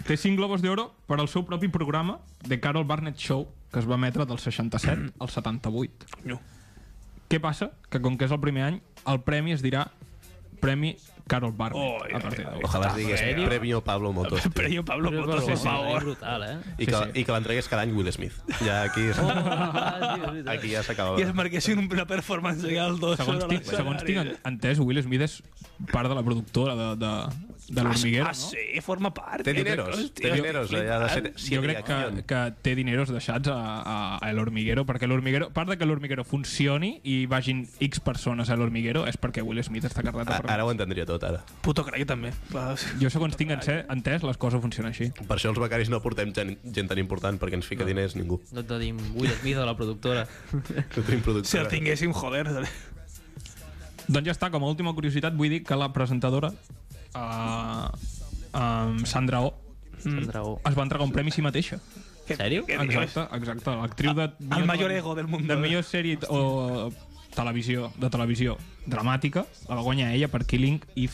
Speaker 3: Té 5 globos d'oro per al seu propi programa de Carol Barnett Show, que es va emetre del 67 al 78.
Speaker 4: Conyo.
Speaker 3: Què passa? Que com que és el primer any, el premi es dirà Premi Carol Barnett.
Speaker 4: Oi,
Speaker 3: a partir d'avui.
Speaker 1: Ojalà es digués Premio Pablo Motos. tio.
Speaker 4: Però jo, Pablo,
Speaker 2: Però,
Speaker 4: por
Speaker 2: però,
Speaker 4: favor.
Speaker 2: Brutal, eh?
Speaker 1: I que, i que l'entregués cada any Will Smith. Ja aquí,
Speaker 2: Ah, tio, és veritat.
Speaker 1: aquí ja s'acaba.
Speaker 4: I es marquessin una performance allà al dos.
Speaker 3: Segons
Speaker 4: sobre
Speaker 3: tinc, segons tinc en- entès, Will Smith és part de la productora de, de, de
Speaker 4: l'escenari.
Speaker 3: l'Hormiguero, no?
Speaker 4: Ah, sí, forma part.
Speaker 1: Té dineros, té dineros. Allà de ser, sí,
Speaker 3: jo crec que, que té dineros deixats a, a, a l'Hormiguero, perquè l'Hormiguero, a part de que l'Hormiguero funcioni i vagin X persones a l'Hormiguero, és perquè Will Smith està carregat a
Speaker 1: Ara ho entendria tot, ara.
Speaker 4: Puto crack, també. Clar, sí.
Speaker 3: Jo, segons tinc ence- entès, les coses funcionen així.
Speaker 1: Per això els becaris no portem gent, gent tan important, perquè ens fica diners ningú.
Speaker 2: No et tenim Will Smith de la productora.
Speaker 1: No tenim productora.
Speaker 4: Si el tinguéssim, joder. saps?
Speaker 3: Doncs ja està, com a última curiositat, vull dir que la presentadora, eh, em, Sandra Oh,
Speaker 2: Sandra Oh.
Speaker 3: es va entregar un premi a si mateixa.
Speaker 2: En sèrio?
Speaker 1: Ah,
Speaker 4: Què dius? Ah,
Speaker 3: Exacte, exacte. L'actriu de...
Speaker 4: El mayor ego del mundo.
Speaker 3: De millor sèrie o televisió, de televisió dramàtica, la va guanyar ella per Killing Eve.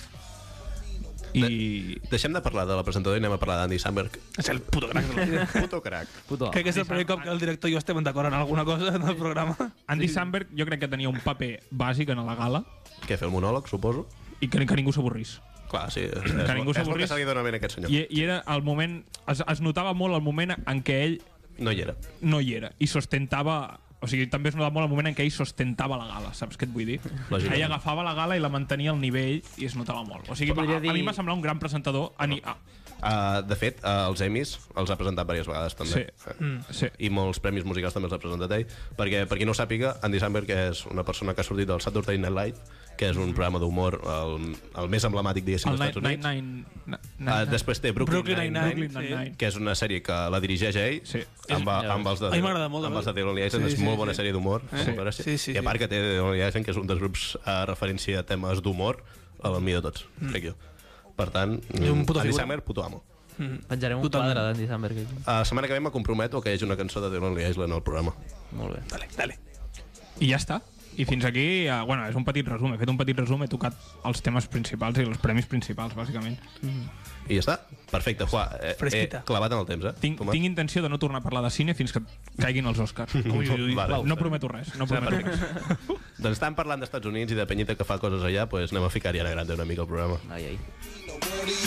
Speaker 3: I...
Speaker 1: Deixem de parlar de la presentadora i anem a parlar d'Andy Samberg.
Speaker 4: És el puto crack de la vida.
Speaker 1: Puto crack.
Speaker 2: Puto.
Speaker 4: Crec que és el primer cop que el director i jo estem d'acord en alguna cosa en el programa.
Speaker 3: Andy Samberg jo crec que tenia un paper bàsic en la gala
Speaker 1: Què, fer el monòleg, suposo?
Speaker 3: i que, que ningú s'avorrís.
Speaker 1: Clar, sí. És, és,
Speaker 3: ningú
Speaker 1: és el que
Speaker 3: s'avorrís.
Speaker 1: se li dona ben a aquest senyor.
Speaker 3: I, I era el moment... Es, es notava molt el moment en què ell
Speaker 1: No hi era.
Speaker 3: no hi era i sostentava o sigui, també es notava molt el moment en què ell sostentava la gala, saps què et vull dir?
Speaker 1: Lògicament.
Speaker 3: Ell agafava la gala i la mantenia al nivell i es notava molt. O sigui, a,
Speaker 2: Podria
Speaker 3: a
Speaker 2: dir-
Speaker 3: mi m'ha semblat un gran presentador. A, ni- a,
Speaker 1: Uh, de fet, uh, els Emmys els ha presentat diverses vegades,
Speaker 3: sí,
Speaker 1: també. Eh,
Speaker 3: sí.
Speaker 1: I molts premis musicals també els ha presentat ell. Perquè, per qui no ho sàpiga, Andy Samberg és una persona que ha sortit del Saturday Night Live, que
Speaker 4: Mhm.
Speaker 1: és un programa d'humor el, el més emblemàtic, diguéssim,
Speaker 3: El
Speaker 1: dels Estats Units. Uh,
Speaker 3: Nine-Nine...
Speaker 1: després té Brooklyn,
Speaker 4: Brooklyn Nine-Nine.
Speaker 1: Nine-Nine,
Speaker 4: Nine-Nine.
Speaker 1: que és una sèrie que la dirigeix ell
Speaker 3: Sí.
Speaker 1: amb,
Speaker 2: És-
Speaker 1: amb els de,
Speaker 4: A mi m'agrada molt,
Speaker 1: amb
Speaker 4: eh?
Speaker 1: els de The Lonely Island,
Speaker 4: Sí,
Speaker 1: és
Speaker 4: sí,
Speaker 1: molt
Speaker 4: sí.
Speaker 1: bona sèrie d'humor
Speaker 4: Sí.
Speaker 1: molt bona sèrie.
Speaker 4: Sí, sí,
Speaker 1: i a
Speaker 4: sí.
Speaker 1: part que té The Lonely Island que és un dels grups a referència a temes d'humor el millor de tots, crec jo per tant,
Speaker 4: És Mm. un puto
Speaker 1: Andy
Speaker 4: figura.
Speaker 1: Samberg, puto amo
Speaker 2: Penjarem un
Speaker 4: Totalment.
Speaker 2: quadre d'Andy Samberg. aquí.
Speaker 1: la setmana que ve me comprometo a que hi hagi una cançó de The Lonely Island al programa
Speaker 2: Molt bé.
Speaker 4: Dale, dale.
Speaker 3: I ja està. I fins aquí, eh, bueno, és un petit resum. He fet un petit resum, he tocat els temes principals i els premis principals, bàsicament.
Speaker 1: i ja està, perfecte, Juà, eh, eh,
Speaker 4: Fresquita.
Speaker 1: clavat en el temps eh?
Speaker 3: Tinc,
Speaker 1: Tomàs?
Speaker 3: tinc intenció de no tornar a parlar de cine fins que caiguin els Oscars.
Speaker 1: Vale.
Speaker 3: No prometo res, no prometo res.
Speaker 1: doncs estan parlant d'Estats Units i de penyita que fa coses allà doncs anem a ficar Ariana Grande una mica al programa
Speaker 2: Ai, ai.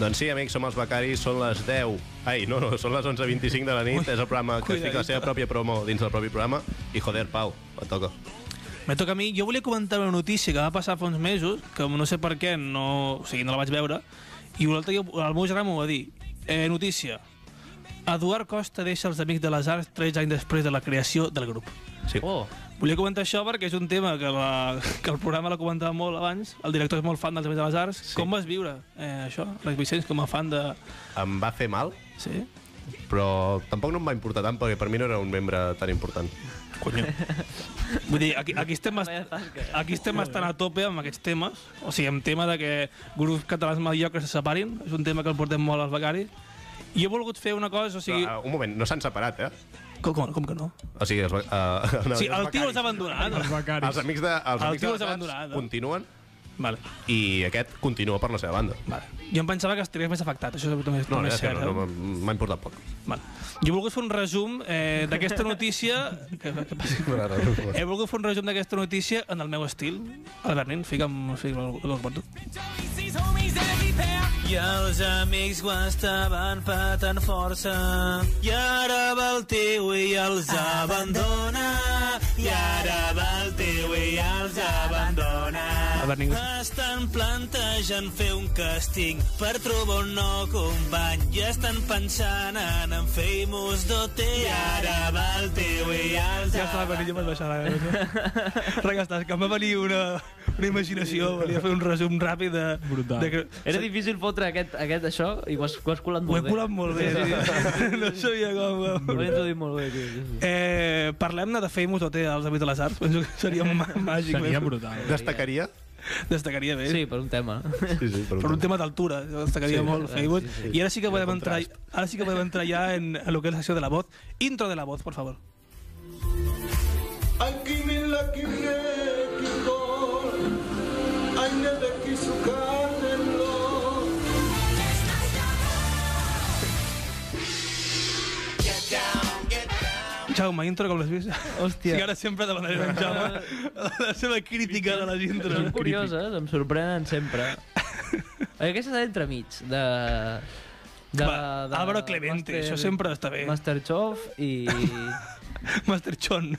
Speaker 1: Doncs sí, amics, som els becaris, són les 10... Ai, no, no, són les 11.25 de la nit, és el programa que es fica la seva pròpia promo dins del propi programa, i joder, Pau, et toca.
Speaker 4: Me toca a mi. Jo volia comentar una notícia que va passar fa uns mesos, que no sé per què, no, o sigui, no la vaig veure, i un altre dia el meu germà m'ho va dir. Eh, notícia. Eduard Costa deixa els Amics de les Arts 13 anys després de la creació del grup.
Speaker 1: Sí.
Speaker 2: Oh,
Speaker 4: Volia comentar això perquè és un tema que, la, que el programa l'ha comentat molt abans. El director és molt fan dels Amics de les Arts. Sí. Com vas viure eh, això, Rex Vicenç, com a fan de...
Speaker 1: Em va fer mal,
Speaker 4: Sí?
Speaker 1: però tampoc no em va importar tant, perquè per mi no era un membre tan important.
Speaker 4: Conyo. Vull dir, aquí, aquí estem... Bast...
Speaker 2: Vaya tasca.
Speaker 4: Aquí estem bastant a tope amb aquests temes, o sigui, amb tema de que grups catalans mediocres se separin, és un tema que el portem molt als becaris, i he volgut fer una cosa, o sigui...
Speaker 1: Però, uh, un moment, no s'han separat, eh?
Speaker 4: Com, com, com que no?
Speaker 1: O sigui, els, be- uh, no,
Speaker 4: O sigui,
Speaker 1: els
Speaker 4: el tio els
Speaker 1: becaris.
Speaker 4: ha abandonat.
Speaker 1: Els amics de, els
Speaker 4: El
Speaker 1: amics
Speaker 4: tio
Speaker 1: de
Speaker 4: els ha
Speaker 1: les
Speaker 4: abandonat,
Speaker 1: Arts
Speaker 4: eh?
Speaker 1: continuen
Speaker 4: Vale,
Speaker 1: i aquest continua per la seva banda.
Speaker 4: vale. Jo em pensava que estaries més afectat, això és
Speaker 1: No,
Speaker 4: també,
Speaker 1: no,
Speaker 4: també
Speaker 1: és
Speaker 4: és
Speaker 1: que
Speaker 4: cert.
Speaker 1: no,
Speaker 4: eh?
Speaker 1: no m'ha- m'ha importat poc.
Speaker 4: Vale. Jo he volgut fer un resum eh, d'aquesta notícia... que, que passi. he volgut fer un resum d'aquesta notícia en el meu estil. Albert Nin, fica'm, fica'm el, el, el I els amics ho estaven patant força i ara va el tio i els abandona I ara va el teu i els abandona.
Speaker 5: Albert, ningú-
Speaker 4: Estan plantejant fer un càsting per trobar un nou company i estan pensant en en Famous Dote. I ara va el teu i els
Speaker 5: Ja estava venint, jo me'n baixava.
Speaker 4: Res, ja està, que em va venir una, una imaginació, volia fer un resum ràpid de...
Speaker 3: Brutal.
Speaker 4: De,
Speaker 2: Era difícil fotre aquest, aquest això i ho has, ho has colat
Speaker 4: ho he
Speaker 2: molt bé.
Speaker 4: colat molt bé, tio. no sabia com...
Speaker 2: Ho he introduït molt bé, tio.
Speaker 4: Eh, Parlem-ne de Famous OT als Amics de les Arts. Penso que seria mà màgic.
Speaker 3: Seria
Speaker 4: eh?
Speaker 3: brutal.
Speaker 1: Destacaria?
Speaker 4: Destacaria bé.
Speaker 2: Sí, per un tema.
Speaker 1: Sí, sí,
Speaker 4: Per un tema d'altura, jo destacaria
Speaker 2: Sí,
Speaker 4: sí, molt
Speaker 2: sí,
Speaker 4: Famous.
Speaker 2: sí,
Speaker 4: Sí,
Speaker 2: sí.
Speaker 4: I ara sí que
Speaker 1: Quin
Speaker 4: podem entrar,
Speaker 1: contrast.
Speaker 4: ara sí que podem entrar ja en, en lo que és la secció de la voz. Intro de la voz, por favor. Jaume, intro com l'has vist?
Speaker 2: Hòstia.
Speaker 4: Sí, ara sempre demanaré a en Jaume la seva crítica de les intros.
Speaker 2: Són curioses, em sorprenen sempre. Aquesta és entremig, de... de,
Speaker 4: Va,
Speaker 2: de
Speaker 4: Álvaro Clemente, això sempre està bé.
Speaker 2: Masterchef i...
Speaker 4: Master Chon.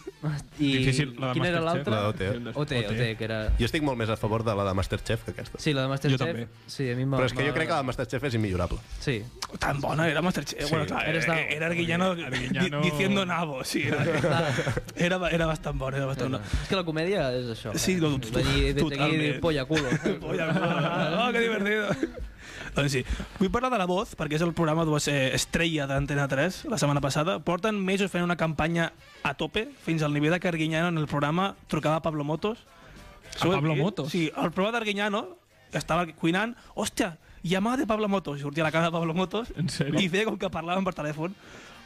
Speaker 2: i
Speaker 3: Difícil, la de
Speaker 2: quina era
Speaker 3: Masterchef.
Speaker 2: l'altra?
Speaker 1: La d'OT.
Speaker 2: OT,
Speaker 4: E.
Speaker 2: OT, E, que era...
Speaker 1: Jo estic molt més a favor de la de Masterchef que aquesta.
Speaker 2: Sí, la de
Speaker 3: Jo
Speaker 2: Masterchef.
Speaker 3: també.
Speaker 2: Sí, a mi m'ha-
Speaker 1: Però és que jo
Speaker 2: m'ha-
Speaker 1: crec que la de Masterchef és immillorable.
Speaker 2: Sí.
Speaker 4: Tan bona, era Masterchef. Sí, bueno, clar,
Speaker 2: Eres nabo.
Speaker 4: era, era Arguillano,
Speaker 3: Arguillano-
Speaker 4: di- diciendo nabo, sí. Era, era, era bastant bona, era bastant bona.
Speaker 2: Ah, És que la comèdia és això.
Speaker 4: Sí,
Speaker 2: eh?
Speaker 4: no,
Speaker 2: És venir des d'aquí i dir
Speaker 4: totalment.
Speaker 2: polla culo. saps?
Speaker 4: Polla, oh, que divertido. Doncs sí, vull parlar de La Voz, perquè és el programa dues, eh, estrella d'Antena 3 la setmana passada. Porten mesos fent una campanya a tope, fins al nivell de que Arguiñano en el programa trucava a Pablo Motos.
Speaker 3: A Pablo Motos?
Speaker 4: Sí, el programa d'Arguiñano estava cuinant, hòstia, llamada de Pablo Motos, i sortia la cara de Pablo Motos,
Speaker 3: En serio?
Speaker 4: i feia com que parlaven per telèfon.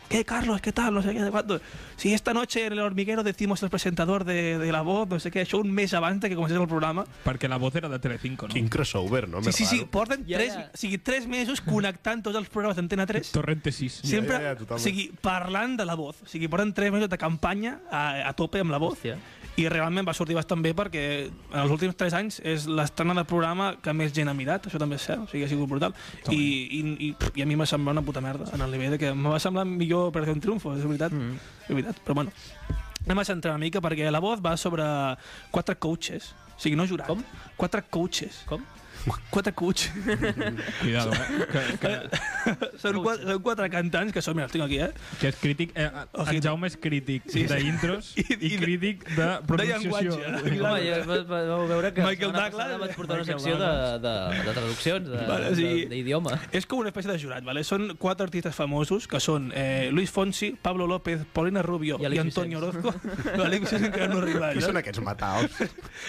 Speaker 4: ¿Qué, Carlos? ¿Qué tal? No sé qué, de cuánto. Si esta noche en el hormiguero decimos el presentador de, de La Voz, no sé qué, això un mes abans de que comencés el programa.
Speaker 3: Perquè la voz era de Telecinco, no?
Speaker 1: Quin crossover, no?
Speaker 4: Sí,
Speaker 1: Més
Speaker 4: sí, sí,
Speaker 1: raro.
Speaker 4: porten
Speaker 2: Ja,
Speaker 4: tres,
Speaker 2: ja.
Speaker 4: o sigui, tres mesos connectant tots els programes d'Antena 3
Speaker 3: Torrente 6.
Speaker 1: Sí.
Speaker 4: sempre,
Speaker 1: ja, ja,
Speaker 4: o
Speaker 1: totalment.
Speaker 4: sigui, parlant de la voz o sigui, porten tres mesos de campanya a, a tope amb la voz
Speaker 2: Hòstia.
Speaker 4: i realment va sortir bastant bé perquè en els últims tres anys és l'estrena del programa que més gent ha mirat, això també és cert o sigui, ha sigut brutal I, i, i, pff, i a mi m'ha semblat una puta merda en el nivell de que em va semblar millor per fer un triomfo, és veritat, mm. és veritat però bueno, anem a centrar una mica perquè la voz va sobre quatre coaches o sigui, no jurat,
Speaker 2: Com?
Speaker 4: quatre coaches
Speaker 2: Com?
Speaker 4: quatre coaches
Speaker 3: Cuidado, eh? Que, que,
Speaker 4: són, quatre, són quatre cantants que són, mira, els tinc aquí, eh?
Speaker 3: que és crític... Eh, en
Speaker 4: Ojito.
Speaker 3: Jaume és crític
Speaker 4: Sí.
Speaker 3: d'intros
Speaker 4: I-
Speaker 3: i,
Speaker 4: i de-
Speaker 3: crític de pronunciació.
Speaker 4: llenguatge.
Speaker 3: Sí.
Speaker 2: Home, ja va- va- vau veure que
Speaker 4: Michael
Speaker 2: la setmana
Speaker 4: Douglas.
Speaker 2: passada vaig portar una
Speaker 3: Michael
Speaker 2: secció de, de, de traduccions,
Speaker 4: Vale,
Speaker 2: de-
Speaker 4: sí.
Speaker 2: de- d'idioma.
Speaker 4: És com una espècie de jurat, ¿vale? Són quatre artistes famosos, que són eh, Luis Fonsi, Pablo López, Paulina Rubio
Speaker 2: I
Speaker 4: i,
Speaker 2: Alexis
Speaker 4: Antonio Orozco. L'Alexis encara no arriba.
Speaker 1: Qui són
Speaker 4: No?
Speaker 1: aquests mataos?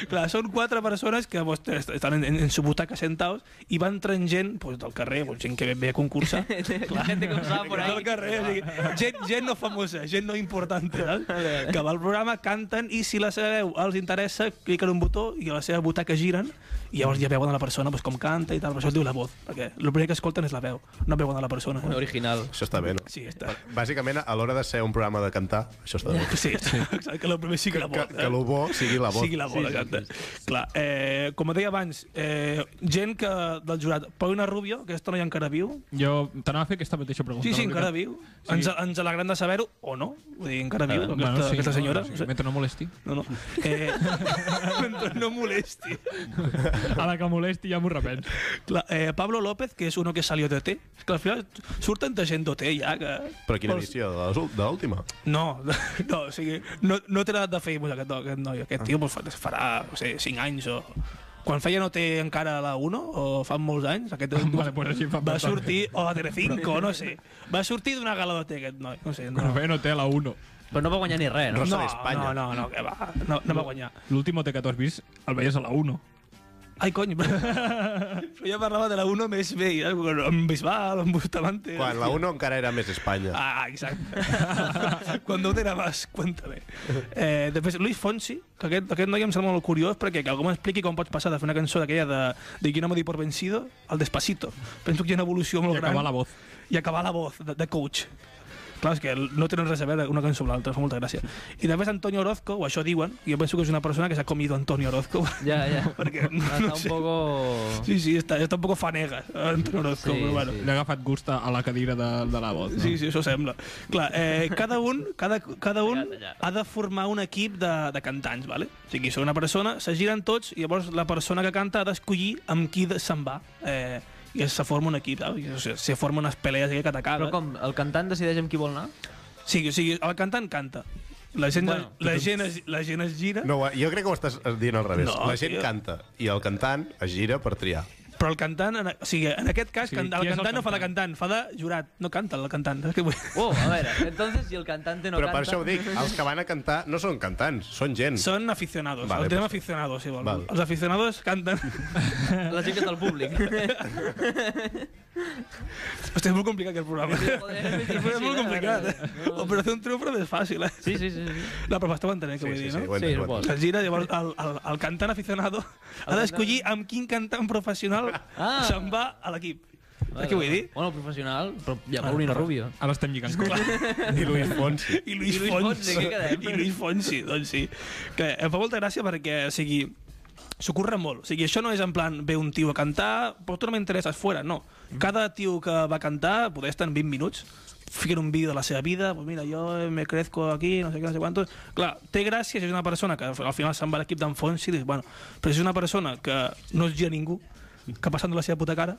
Speaker 4: Clar, són quatre persones que pues, est- estan en, en, en su butaca sentados i van traient gent pues, del carrer, pues, gent que ve, ve a concursar.
Speaker 2: La gente que usaba por ahí.
Speaker 4: Del carrer, o sigui, gent, gent no famosa, gent no important, saps? que va al programa, canten i si la seva veu els interessa, cliquen un botó i a la seva butaca giren i llavors ja veuen a la persona pues, com canta i tal, per això es diu la voz, perquè el primer que escolten és la veu, no veuen a la persona.
Speaker 2: Un original.
Speaker 1: Això està bé, no?
Speaker 4: Sí, està.
Speaker 1: Bàsicament, a l'hora de ser un programa de cantar, això està bé.
Speaker 4: Sí, sí. exacte, que el primer sigui la
Speaker 1: Que,
Speaker 4: voz. eh?
Speaker 1: que lo bo sigui la voz.
Speaker 4: Sigui la bola, exacte. Clar, eh, com deia abans, eh, gent que, del jurat, Paulina Rubio, que aquesta noia encara viu,
Speaker 3: Jo t'anava a fer aquesta mateixa pregunta.
Speaker 4: Sí, sí,
Speaker 3: la
Speaker 4: encara
Speaker 3: veritat.
Speaker 4: viu. Sí. Ens, ens alegrem de saber-ho, o no. Vull dir, encara viu, aquesta,
Speaker 3: Ah, Bueno, sí,
Speaker 4: aquesta
Speaker 3: no,
Speaker 4: senyora.
Speaker 3: no, sí, Mentre no molesti.
Speaker 4: No, no. Eh, mentre no molesti.
Speaker 3: A la que molesti ja m'ho repenso.
Speaker 4: Clar, eh, Pablo López, que és uno que salió d'OT. És que al final surt tanta gent d'OT ja que...
Speaker 1: Però quina
Speaker 4: Vols-
Speaker 1: edició? De les ul- de l'última?
Speaker 4: No, no, o sigui, no, no té l'edat de fer pues, aquest, aquest noi. Aquest tio pues, fa- farà, no sé, 5 anys o... Quan feia no té encara la 1, o fa molts anys, aquest
Speaker 3: Vale, pues així fa eh.
Speaker 4: va
Speaker 3: bastant.
Speaker 4: sortir, o a Telecinco, no sé. Va sortir d'una gala d'OT aquest noi, no sé.
Speaker 3: Però
Speaker 4: No.
Speaker 3: bé, no té la 1.
Speaker 2: Però no va guanyar ni res, no?
Speaker 1: Rosa
Speaker 4: No,
Speaker 1: d'Espanya.
Speaker 4: no, no, no, que va, no, no va guanyar.
Speaker 3: L'último té 14 vist el veies a la 1.
Speaker 4: Ai, cony, però, però jo parlava de la 1 més bé, eh? amb Bisbal, amb Bustamante...
Speaker 1: Quan la 1 encara era més Espanya.
Speaker 4: Ah, exacte. Cuando te grabas, cuéntame. Eh, després, Luis Fonsi, que aquest, aquest noi em sembla molt curiós perquè que algú m'expliqui com pots passar de fer una cançó d'aquella de, de Yo no me di por vencido al Despacito. Penso que hi ha una evolució
Speaker 3: I
Speaker 4: molt gran.
Speaker 3: acabar la voz.
Speaker 4: I acabar la voz de, de coach. Clar, és que no tenen res a veure una cançó amb l'altra, fa molta gràcia. I després Antonio Orozco, o això diuen, jo penso que és una persona que s'ha comido Antonio Orozco.
Speaker 2: Ja, ja.
Speaker 4: Perquè no,
Speaker 2: Està
Speaker 4: no
Speaker 2: un
Speaker 4: sé.
Speaker 2: poco...
Speaker 4: Sí, sí, està, està un poco fanega, Antonio Orozco,
Speaker 2: Sí,
Speaker 4: però bueno.
Speaker 2: sí.
Speaker 3: Li ha agafat gust a a la cadira de, de la voz, no?
Speaker 4: Sí, sí, això sembla. Clar, eh, cada un, cada, cada un ha de formar un equip de, de cantants, vale? O sigui, són una persona, se giren tots i llavors la persona que canta ha d'escollir amb qui de- se'n va. Eh, i se forma un equip, saps? I, o sigui, se formen unes pelees aquí que
Speaker 2: Però
Speaker 4: t'acaba.
Speaker 2: com, el cantant decideix amb qui vol anar?
Speaker 4: Sí, o sigui, el cantant canta. La gent, bueno,
Speaker 2: Bueno, doncs-
Speaker 4: la, gent es, la gent es gira, no.
Speaker 1: No, jo crec que ho estàs dient al revés.
Speaker 4: No,
Speaker 1: No, la gent
Speaker 4: tio.
Speaker 1: tio. canta i el cantant es gira per triar.
Speaker 4: però el cantant, en, o sigui, en aquest cas,
Speaker 3: Sí,
Speaker 4: sí, el,
Speaker 3: qui és el
Speaker 4: cantant no fa de
Speaker 3: cantant?
Speaker 4: cantant, fa de jurat. No canta el cantant. És que vull...
Speaker 2: Oh, a veure, entonces si el cantante no
Speaker 1: Però
Speaker 2: canta...
Speaker 1: per això ho dic, els que van a cantar no són cantants, són gent.
Speaker 4: Són aficionados, vale,
Speaker 1: Mm. Vale,
Speaker 4: el tema
Speaker 1: pues-
Speaker 4: aficionados, si vol.
Speaker 1: Val.
Speaker 4: Els aficionados canten.
Speaker 2: La gent que és del públic.
Speaker 4: Hòstia, és molt complicat aquest programa.
Speaker 2: és
Speaker 4: Però és molt complicat, eh? Operació un triomf però és fàcil, eh?
Speaker 2: Sí, sí, sí. sí.
Speaker 4: No, però m'esteu entenent què
Speaker 1: Sí,
Speaker 4: vull
Speaker 1: sí,
Speaker 4: dir,
Speaker 1: sí,
Speaker 4: no?
Speaker 1: ho entenc,
Speaker 2: Sí,
Speaker 1: ho entenc.
Speaker 2: suposo.
Speaker 4: Es gira, llavors el, el, el cantant aficionado ha d'escollir amb quin cantant professional
Speaker 2: Ah.
Speaker 4: se'n va a l'equip. Saps què vull dir?
Speaker 2: Bueno, professional, però ja Paulina Rubio.
Speaker 3: Ara estem lligant coses.
Speaker 1: I Luis Fonsi.
Speaker 4: I
Speaker 2: I
Speaker 4: Luis,
Speaker 2: Luis Fonsi, què quedem?
Speaker 4: I Luis Fonsi, doncs sí. Que em fa molta gràcia perquè, o sigui, s'ho curren molt. O sigui, això no és en plan, ve un tio a cantar, però tu no m'interesses, fora, no.
Speaker 2: Mm.
Speaker 4: Cada tio que va cantar, poder estar en 20 minuts, fiquen un vídeo de la seva vida, pues mira, jo me crezco aquí, no sé què, no sé quantos... Clar, té gràcia si és una persona que al final se'n va a l'equip d'en Fonsi, dius, bueno, però si és una persona que no es gira ningú, que passant de la seva puta cara,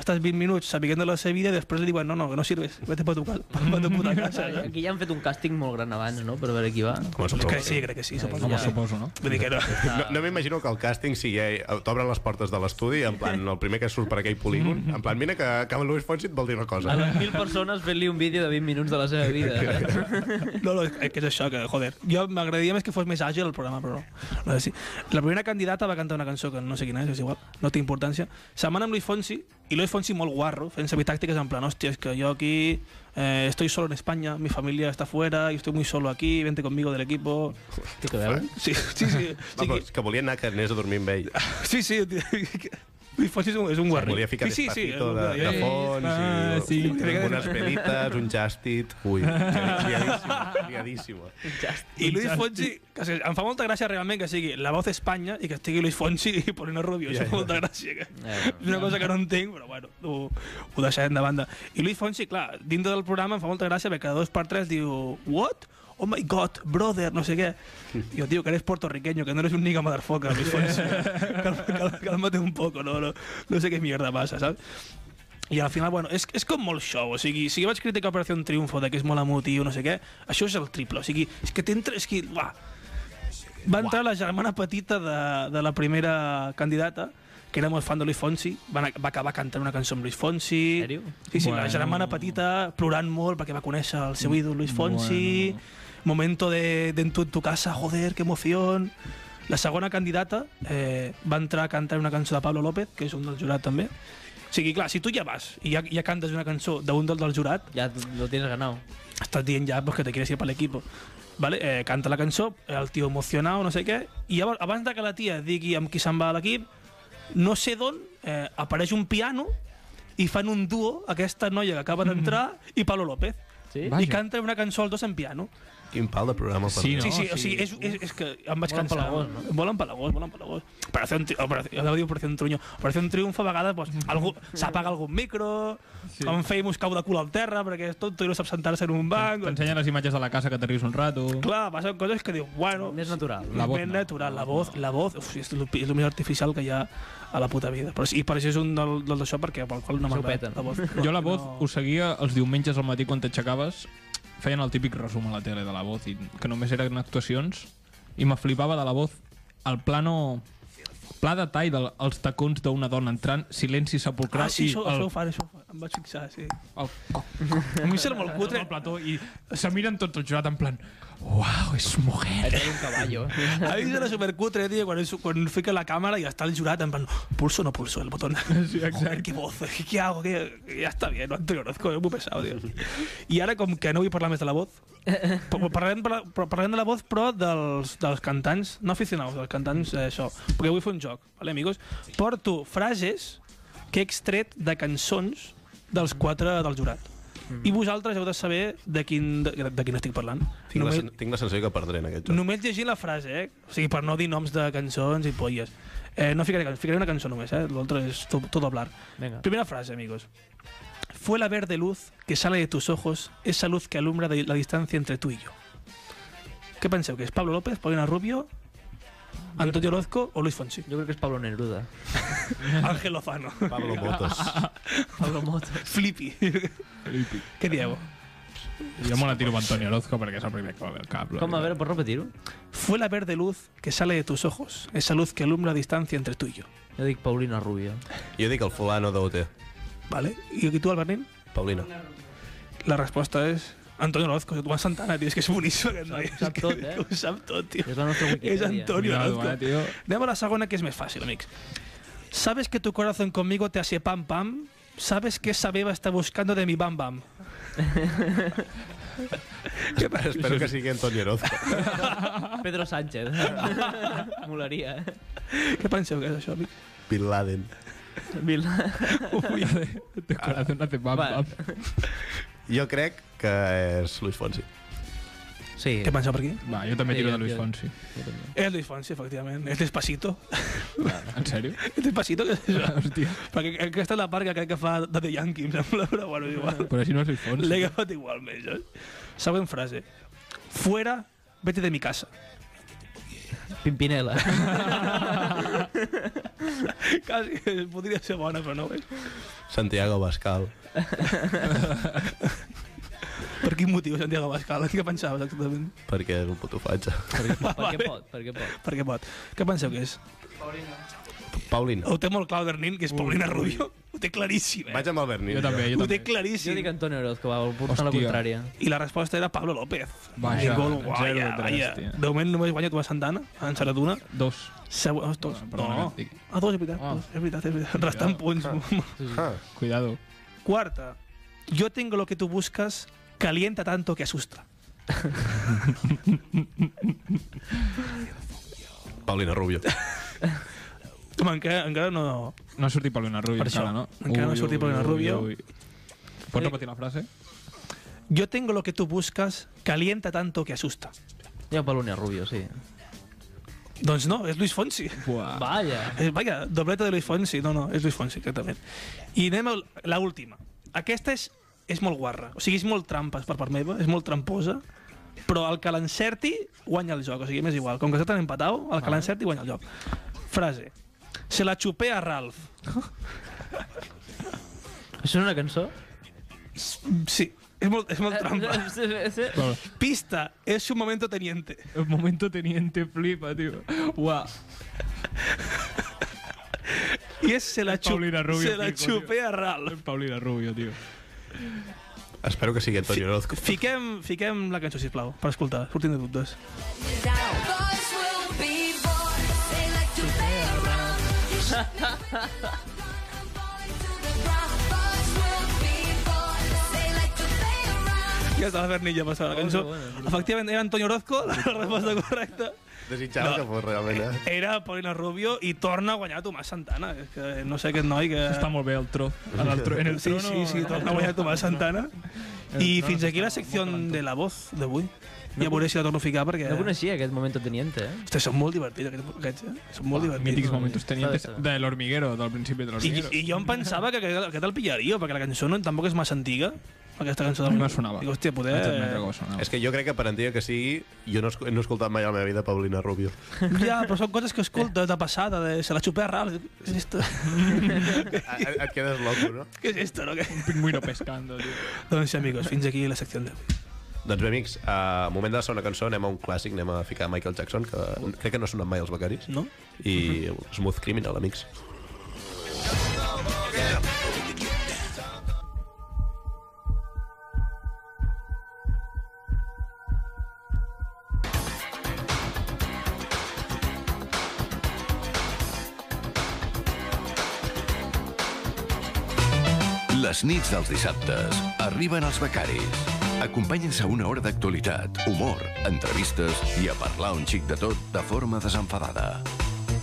Speaker 4: estàs 20 minuts sabent de la seva vida i després li diuen, no, no, que no sirves, vete pa tu, cal, pa tu puta casa. saps?
Speaker 2: Aquí ja han fet un càsting molt gran abans, no?, per veure qui va.
Speaker 1: Com a
Speaker 4: Crec
Speaker 1: suposo.
Speaker 4: que sí, crec que sí, suposo.
Speaker 3: Com
Speaker 2: Ja.
Speaker 3: ho suposo, no?
Speaker 4: Vull dir que no.
Speaker 1: No, no m'imagino que el càsting sigui... eh, T'obren les portes de l'estudi, en plan, el primer que surt per aquell polígon, en plan, mira que, que el Luis Fonsi et vol dir una cosa.
Speaker 2: A les mil persones fent-li un vídeo de 20 minuts de la seva vida. saps?
Speaker 4: No, no, és que és això, que, joder. Jo m'agradaria més que fos més àgil el programa, però no. no sé si. La primera candidata va cantar una cançó que no sé quina és, és igual, no té importància. Se'n van amb Luis Fonsi, i Luis Fonsi molt guarro, fent servir tàctiques en plan, hòstia, és que jo aquí eh, estoy solo en España, mi familia está fuera, y estoy muy solo aquí, vente conmigo del equipo...
Speaker 2: Té que veure.
Speaker 4: Sí, sí, sí.
Speaker 1: Va,
Speaker 4: Sí,
Speaker 1: però
Speaker 4: que-
Speaker 1: és que Ah, volia anar que anés a dormir amb ell.
Speaker 4: sí, sí. Luis Fonsi és un, és un guarro.
Speaker 1: Volia ficar
Speaker 4: sí, sí, sí,
Speaker 1: despacito de, de
Speaker 4: eh,
Speaker 1: fons i,
Speaker 3: Despacito.
Speaker 1: i unes velites, un jastit... Ui, liadíssima, liadíssima.
Speaker 4: I Luis Fonsi, que se- em fa molta gràcia realment que sigui la voz Espanya i que estigui Luis Fonsi i Paulina Rubio, això em fa molta gràcia. Que...
Speaker 2: Ja,
Speaker 4: És una cosa que no entenc, però bueno, ho, ho deixarem de banda. I Luis Fonsi, clar, dintre del programa em fa molta gràcia perquè cada dos per tres diu What? Oh my god, brother, no sé què. I Jo, tio, que eres puertorriqueño, que no eres un nigga motherfucker, Luis Fonsi. Calma- calma- Cálmate un poco, no, no, no sé qué mierda passa, saps? I al final, bueno, és, és com molt show, o sigui, si jo vaig criticar Operació Triunfo de que és molt emotiu, no sé què, això és el triple, o sigui, és que t'entra, és que, uah, va entrar la germana petita de, de la primera candidata, que era molt fan de Luis Fonsi, va, anar- va acabar cantant una cançó amb Luis Fonsi.
Speaker 2: En sèrio?
Speaker 4: Sí, sí, bueno. la
Speaker 3: Bueno.
Speaker 4: germana petita plorant molt perquè va conèixer el seu ídol Luis Fonsi. Bueno. Momento de, de en tu, en tu casa, joder, que emoción. La segona candidata eh, va entrar a cantar una cançó de Pablo López, que és un del jurat també. O sigui, clar, si tu ja vas i ja, ja cantes una cançó d'un del, del jurat,
Speaker 2: ja lo tienes ganado.
Speaker 4: estás dient ja pues, que te quieres ir para el equipo. Vale? Eh, canta la cançó, el tio emocionat, no sé què, i llavors, abans de que la tia digui amb qui se'n va a l'equip, no sé d'on eh, apareix un piano i fan un duo, aquesta noia que acaba d'entrar i Pablo López.
Speaker 2: Sí?
Speaker 3: Vaja.
Speaker 4: I canta una cançó els dos en piano.
Speaker 1: Quin pal de programa. per
Speaker 3: Sí,
Speaker 1: mi.
Speaker 3: no?
Speaker 4: sí, sí,
Speaker 3: o
Speaker 4: o sigui, és, és, és que em vaig
Speaker 2: Volen
Speaker 4: cansar.
Speaker 2: pelagós, no?
Speaker 4: Volen pelagós, volen pelagós. Operació, tri... Operació, anava a dir Operació un truño. Operació un triomf, a vegades pues, algú... s'apaga algun micro, sí. en Famous cau de cul al terra perquè és tonto i no sap sentar-se en un banc.
Speaker 3: T'ensenyen les imatges de la casa que t'arrius un rato.
Speaker 4: Clar, passen coses que dius, bueno...
Speaker 2: Més natural.
Speaker 3: La voz
Speaker 4: més
Speaker 3: no.
Speaker 4: natural, la voz, la voz, uf, és el, és el més artificial que hi ha a la puta vida. Però, sí, I per això és un del, del d'això, perquè pel qual no
Speaker 2: Això ho peten.
Speaker 4: m'agrada la voz.
Speaker 3: Jo la voz
Speaker 4: No.
Speaker 3: ho seguia els diumenges al matí quan t'aixecaves. Feien el típic resum a la tele de la voz, i que només eren actuacions. I me flipava de la voz el plano pla de tall dels tacons d'una dona entrant, silenci sepulcral
Speaker 4: Ah, sí,
Speaker 3: i
Speaker 4: això,
Speaker 3: el,
Speaker 4: això ho fan, això ho fan. Em vaig fixar, sí.
Speaker 3: el,
Speaker 4: A mi em sembla molt
Speaker 3: cutre
Speaker 4: cutre.
Speaker 3: al plató i se miren tots el jurat en plan uau, és mujer.
Speaker 2: Era un caballo.
Speaker 4: A mi em sembla supercutre, tio, quan, és, quan fica la càmera i està el jurat en plan, pulso o no pulso el botón. Sí, Joder, qué voz, qué hago, qué... Ya está bien, no te conozco, es muy pesado, tio. I ara, com que no vull parlar més de la voz, pa- parlarem, parla- però parlarem de la voz, però dels, dels cantants, no aficionados, dels cantants, eh, això, perquè vull fer un joc, vale, amigos? Porto frases que he extret de cançons dels quatre del jurat. I vosaltres heu de saber de quin, de, de quin estic parlant.
Speaker 1: Tinc, la,
Speaker 4: Només,
Speaker 1: sen- tinc la sensació que perdré en aquest joc.
Speaker 4: només llegir la frase, eh? O sigui, per no dir noms de cançons i polles. Eh, no ficaré, can- ficaré una cançó només, eh? L'altre és to, tot hablar.
Speaker 2: Venga.
Speaker 4: Primera frase, amigos. Fue la verde luz que sale de tus ojos, esa luz que alumbra de la distancia entre tú y yo. ¿Qué penseu que es? ¿Pablo López, Paulina Rubio, Antonio Orozco o Luis Fonsi?
Speaker 2: Yo creo que es Pablo Neruda.
Speaker 4: Ángel Lozano.
Speaker 1: Pablo Motos.
Speaker 2: Pablo Motos.
Speaker 4: Flippy. ¿Qué diablo?
Speaker 3: Jo me la tiro amb Antonio Orozco perquè és el primer que va ve al cap. la
Speaker 2: Com, a
Speaker 3: veritat.
Speaker 2: ver, por repetir-ho?
Speaker 4: Fue la verde luz que sale de tus ojos, esa luz que alumbra la distancia entre tú y yo.
Speaker 2: Jo dic Paulina Rubio.
Speaker 1: Jo dic el fulano d'OT.
Speaker 4: ¿Vale? ¿Y tú, Albertín?
Speaker 1: Paulina.
Speaker 4: La respuesta es Antonio Orozco, Juan Santana, tío. Es que es buenísimo aquest noi.
Speaker 2: Ho sap tot, eh?
Speaker 4: Ho sap tot, tio.
Speaker 2: És la nostra
Speaker 4: Es
Speaker 2: Wikipedia.
Speaker 4: Antonio
Speaker 3: Cuidado, eh,
Speaker 4: Orozco.
Speaker 3: tio.
Speaker 4: Anem a la segona, que es más fácil, amics. ¿Sabes que tu corazón conmigo te hace pam pam? ¿Sabes que esa beba está buscando de mi bam bam?
Speaker 1: Espero que sigui Antonio Orozco.
Speaker 2: Pedro Sánchez. Molaria, eh?
Speaker 4: Què penseu que és això, amics?
Speaker 1: Bin Laden.
Speaker 2: Vil...
Speaker 3: Ui, eh, de- de corazón hace pam,
Speaker 2: Va.
Speaker 3: pam.
Speaker 1: Jo crec que és Luis Fonsi.
Speaker 2: Sí.
Speaker 4: Què penseu per aquí?
Speaker 3: Va, jo també tiro
Speaker 2: Sí,
Speaker 3: de Luis
Speaker 2: jo-
Speaker 3: Fonsi.
Speaker 2: Jo també.
Speaker 4: És Luis Fonsi, efectivament. És Despacito.
Speaker 3: En sèrio?
Speaker 4: És Despacito, que és això?
Speaker 3: Hòstia.
Speaker 4: Perquè aquesta és la part que crec que fa de The Yankee, em sembla, però bueno, és igual.
Speaker 3: Però així no és Luis Fonsi.
Speaker 4: L'he agafat igual més, eh? Següent frase. Fuera, vete de mi casa.
Speaker 2: Pimpinela.
Speaker 4: Quasi eh, podria ser bona, però no ho és.
Speaker 1: Santiago Bascal.
Speaker 4: Per quin motiu, Santiago Abascal? Què pensaves exactament?
Speaker 1: Perquè és un puto fatge.
Speaker 2: per què pot? Per què pot?
Speaker 4: Per què pot? Què penseu que és?
Speaker 1: Paulina.
Speaker 4: Ho té molt clar el Bernin, que és Paulina Rubio. Ho té claríssim, eh?
Speaker 1: Vaig amb el Bernin.
Speaker 3: Jo també, jo
Speaker 4: Ho té
Speaker 3: també.
Speaker 2: Jo
Speaker 4: claríssim.
Speaker 2: dic Antonio Orozco, va, portant la
Speaker 3: Hòstia.
Speaker 2: contrària.
Speaker 4: I la resposta era Pablo López.
Speaker 3: Vaja,
Speaker 4: Ningú el
Speaker 3: en
Speaker 4: guanya,
Speaker 3: zero de tres,
Speaker 4: vaja.
Speaker 3: tio.
Speaker 4: De moment només guanya Tomàs Santana, en Saratuna.
Speaker 3: Dos.
Speaker 4: Següent, els oh, dos.
Speaker 3: Perdona,
Speaker 4: No,
Speaker 3: que et digui.
Speaker 4: a dos, és veritat.
Speaker 3: Ah.
Speaker 4: dos, És veritat, és veritat. Restant punts.
Speaker 1: Ah,
Speaker 3: Cuidado.
Speaker 4: Cuarta. Yo tengo lo que tú buscas, calienta tanto que asusta.
Speaker 1: Paulina Rubio.
Speaker 4: Home, encara, encara no...
Speaker 3: No ha sortit Paulina Rubio
Speaker 4: Per això.
Speaker 3: encara, no?
Speaker 4: Encara no ha sortit Paulina Rubio. Eh,
Speaker 3: Pots repetir la frase?
Speaker 4: Yo tengo lo que tú buscas, calienta tanto que asusta.
Speaker 2: Jo Paulina Rubio, sí.
Speaker 4: Doncs no, és Luis Fonsi.
Speaker 3: Buah.
Speaker 2: Vaya.
Speaker 4: Eh, Vaja, dobleta de Luis Fonsi. No, no, és Luis Fonsi, exactament. I anem a l'última. Aquesta és, és molt guarra. O sigui, és molt trampes per part meva, és molt tramposa, però el que l'encerti guanya el joc. O sigui, m'és igual. Com que està tan empatau, el
Speaker 3: Ah.
Speaker 4: que l'encerti guanya el joc. Frase. Se la xupé a Ralph.
Speaker 2: Això és una cançó?
Speaker 4: Mm, Sí, és molt,
Speaker 3: Eh,
Speaker 4: és molt trampa.
Speaker 2: Trampa.
Speaker 4: Pista, es un momento teniente.
Speaker 3: El momento teniente flipa, tio. Buah.
Speaker 4: Y es se la, chu-
Speaker 3: Paulina Rubio,
Speaker 4: se la
Speaker 3: pico, tío.
Speaker 4: chupé a Ralph.
Speaker 3: Paulina Rubio, tio.
Speaker 1: Espero que sigui Antonio Orozco.
Speaker 4: Fiquem, fiquem la cançó, sisplau, per escoltar, sortint de dubtes.
Speaker 5: Boys will be boys. They like to play around. You should never give up on boys to the ground. Boys will be boys. They like to play around.
Speaker 4: Ja està la Bernilla passant la
Speaker 3: Oh,
Speaker 4: cançó.
Speaker 2: bona,
Speaker 4: Efectivament, era Antonio Orozco, la resposta correcta.
Speaker 1: Desitjava que fos realment, eh?
Speaker 4: Era Paulina Rubio i torna a guanyar Tomàs Santana. És que no sé aquest noi que...
Speaker 3: Està molt bé el tro. En el, tro, en el
Speaker 4: Sí,
Speaker 3: trono...
Speaker 4: sí, sí, torna a guanyar Tomàs Santana. I fins aquí la secció de la voz d'avui. Ja veuré si la torno a ficar perquè...
Speaker 2: No coneixia aquest moment teniente, eh?
Speaker 4: Hosti, són molt divertits aquests, aquests eh? Són molt divertits.
Speaker 3: Ah, Mítics momentos tenientes
Speaker 2: Està bé, està
Speaker 3: de l'hormiguero, del principi de
Speaker 4: I,
Speaker 3: l'hormiguero.
Speaker 4: I jo em pensava que aquest, aquest el pillaria, perquè la cançó no, tampoc és massa antiga. Aquesta cançó
Speaker 3: A
Speaker 4: de...
Speaker 3: mi me sonava.
Speaker 4: Dic, hòstia, poder...
Speaker 3: Vaig admetre que sonava.
Speaker 1: És que jo crec que per antiga que sigui, jo no, he escu- no he escoltat mai a la meva vida Paulina Rubio.
Speaker 4: Ja, però són coses que escoltes de passada, de se la xupé a ral. Què és esto?
Speaker 1: A, a, et quedes loco, no?
Speaker 4: Què és esto, no? Que-
Speaker 3: Pingüino pescando, tio.
Speaker 4: doncs sí, amigos, fins aquí la secció d'avui.
Speaker 1: Doncs bé, amics, a moment de la segona cançó anem a un clàssic, anem a ficar Michael Jackson, que crec que no ha sonat mai els becaris.
Speaker 4: No?
Speaker 1: I Smooth Criminal, amics.
Speaker 6: Les nits dels dissabtes arriben els becaris. Acompanyen-se a una hora d'actualitat, humor, entrevistes i a parlar un xic de tot de forma desenfadada.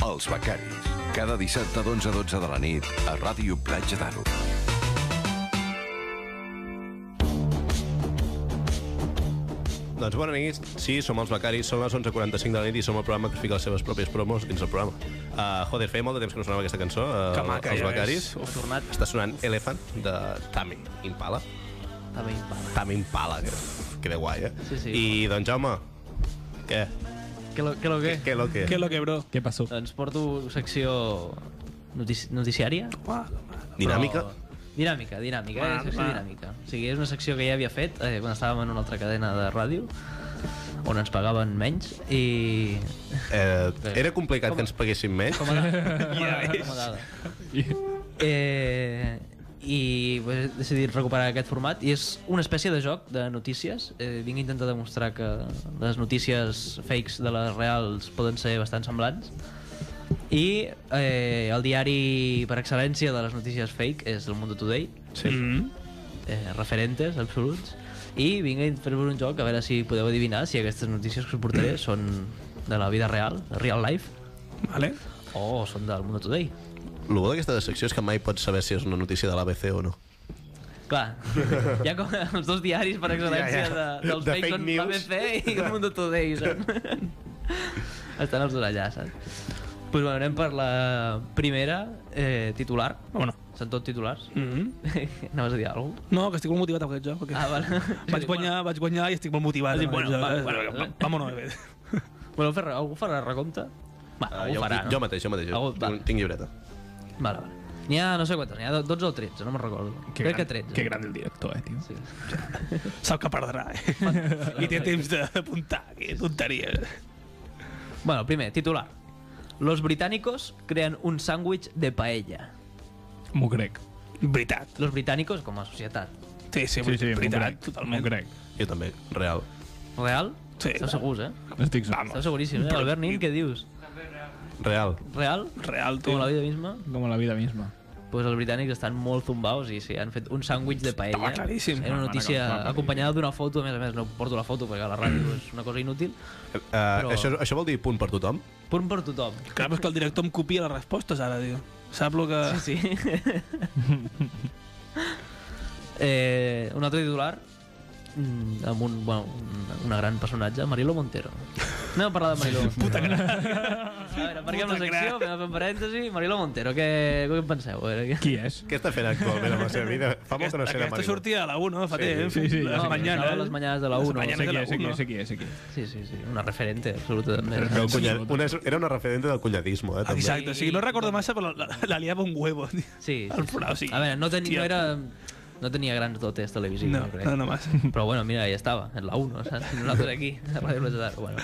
Speaker 6: Els becaris. Cada dissabte d'11 a 12 de la nit a Ràdio Platja d'Aro.
Speaker 1: Doncs bona nit, sí, som els becaris, som les 11.45 de la nit i som el programa que fica les seves pròpies promos dins el programa. Uh, joder, feia molt de temps que no sonava aquesta cançó, uh,
Speaker 4: Que maca,
Speaker 1: els
Speaker 4: ja
Speaker 1: becaris.
Speaker 4: és.
Speaker 2: Ho ha tornat.
Speaker 1: Està sonant Elephant de Tami Impala.
Speaker 2: Està bé impala.
Speaker 1: Tami Impala, que, que de guai, eh?
Speaker 2: Sí, sí.
Speaker 1: I, doncs, Jaume, què?
Speaker 2: Què lo, què lo que?
Speaker 1: Què lo que?
Speaker 4: ¿Qué es lo que, bro?
Speaker 3: Què passó?
Speaker 2: Doncs porto secció notici noticiària.
Speaker 1: Dinàmica?
Speaker 2: Però... Dinàmica, dinàmica,
Speaker 4: Va,
Speaker 2: eh? secció
Speaker 4: va.
Speaker 2: dinàmica. O sigui, és una secció que ja havia fet eh, quan estàvem en una altra cadena de ràdio, on ens pagaven menys, i...
Speaker 1: Eh, era complicat que ens paguessin menys?
Speaker 2: Com a dada. Com a dada, com a dada. Eh, i pues, he decidit recuperar aquest format i és una espècie de joc de notícies eh, vinc a intentar demostrar que les notícies fakes de les reals poden ser bastant semblants i eh, el diari per excel·lència de les notícies fake és el Mundo Today
Speaker 1: Sí.
Speaker 2: eh, referentes absoluts i vinc a fer-vos un joc a veure si podeu adivinar si aquestes notícies que us portaré són de la vida real, de real life
Speaker 4: ¿Vale?
Speaker 2: o Oh, són del Mundo Today
Speaker 1: El bo d'aquesta secció és que mai pots saber si és una notícia de l'ABC o no.
Speaker 2: Clar, hi ha com els dos diaris per excel·lència
Speaker 1: Ja, ja.
Speaker 2: de, dels
Speaker 1: De
Speaker 2: fakes
Speaker 1: fake
Speaker 2: són
Speaker 1: news.
Speaker 2: l'ABC i el Mundo Today. Són. Estan els dos allà, saps? Doncs bueno, anem per la primera, eh, titular.
Speaker 4: Vámonos.
Speaker 2: Són tots titulars. Anaves a dir alguna cosa?
Speaker 4: No, que estic molt motivat amb aquest joc. Perquè...
Speaker 2: Ah, vale.
Speaker 4: Vaig guanyar, vaig guanyar i estic molt motivat.
Speaker 2: Has dit,
Speaker 4: amb aquest
Speaker 2: bueno,
Speaker 4: joc,
Speaker 2: va,
Speaker 4: eh?
Speaker 2: bueno, va.
Speaker 4: Vámonos, eh. bé.
Speaker 2: Voleu fer, algú farà recompte? Va,
Speaker 1: Ah,
Speaker 2: algú
Speaker 1: jo,
Speaker 2: farà, no?
Speaker 1: jo mateix, jo mateix. Jo,
Speaker 2: Algú- va.
Speaker 1: tinc, tinc llibreta.
Speaker 2: Vale, vale. N'hi ha no sé quantes, n'hi ha 12 o 13, no me'n recordo. Crec que 13.
Speaker 3: Que gran el director, eh, tio.
Speaker 2: Sí.
Speaker 4: Sap que perdrà, eh? I té temps d'apuntar. Que tonteria.
Speaker 2: Bueno, primer, titular. Los británicos crean un sándwich de paella.
Speaker 3: M'ho crec.
Speaker 4: Veritat.
Speaker 2: Los británicos com a societat.
Speaker 4: Sí,
Speaker 3: Sí,
Speaker 4: sí,
Speaker 3: sí, m'ho
Speaker 4: veritat,
Speaker 3: crec.
Speaker 4: totalment.
Speaker 3: M'ho crec.
Speaker 1: Jo també, real.
Speaker 2: Real?
Speaker 4: Sí.
Speaker 2: Esteu segurs, eh?
Speaker 3: Estic segur.
Speaker 2: Esteu seguríssims, eh? Albert Nin, què dius?
Speaker 1: Real.
Speaker 2: Real?
Speaker 4: Real,
Speaker 2: Com
Speaker 4: tio.
Speaker 2: la vida misma?
Speaker 3: Com a la vida misma.
Speaker 2: Doncs pues els britànics estan molt zumbaus i sí, han fet un sàndwich de paella.
Speaker 4: Estava claríssim.
Speaker 2: Era una
Speaker 3: Home,
Speaker 2: notícia
Speaker 3: no, clar,
Speaker 2: acompanyada d'una foto, a més a més, no porto la foto perquè a la ràdio és una cosa inútil.
Speaker 1: Uh, Però... això, això vol dir punt per tothom?
Speaker 2: Punt per tothom.
Speaker 4: Clar, però és que el director em copia les respostes ara, tio. Sap lo que...
Speaker 2: Sí, sí. eh, un altre titular mm, amb un, bueno, un- una gran personatge, Marilo Montero. Anem a parlar de Marilo Montero. Puta gran. A veure, marquem la
Speaker 4: Puta gran.
Speaker 2: secció, fem un parèntesi. Marilo Montero, què, què en penseu? A veure, què...
Speaker 3: Qui és?
Speaker 1: Què està fent actualment amb la seva vida? Fa molt que no sé de
Speaker 4: Aquesta
Speaker 1: Marilo.
Speaker 4: sortia a la 1, fa
Speaker 1: Sí,
Speaker 4: temps.
Speaker 3: sí, sí,
Speaker 4: les
Speaker 3: ja sé.
Speaker 4: mañanes.
Speaker 2: Les mañanes de la
Speaker 4: Les
Speaker 2: 1.
Speaker 4: mañanes
Speaker 3: Sé
Speaker 4: de
Speaker 3: qui
Speaker 4: la
Speaker 3: és, sé qui
Speaker 4: 1.
Speaker 3: és, sé qui és, sé qui és.
Speaker 2: Sí, sí, sí, una referente absoluta també.
Speaker 1: Era, un cunya- una, era una referente del
Speaker 2: Ah,
Speaker 1: cunyadismo, eh? També.
Speaker 4: Exacte, o sigui, no recordo massa, però la, la liava un huevo. tio.
Speaker 2: Sí, sí,
Speaker 4: El
Speaker 2: sí.
Speaker 4: forà, o sigui...
Speaker 2: A veure, no, teni,
Speaker 4: hòstia.
Speaker 2: no era... No tenia grans dotes televisives,
Speaker 4: No,
Speaker 2: jo crec.
Speaker 4: no, no massa.
Speaker 2: Però bueno, mira, ya estaba, en la 1, ¿sabes? Y Nosaltres aquí, a Radio Universitat. Bueno.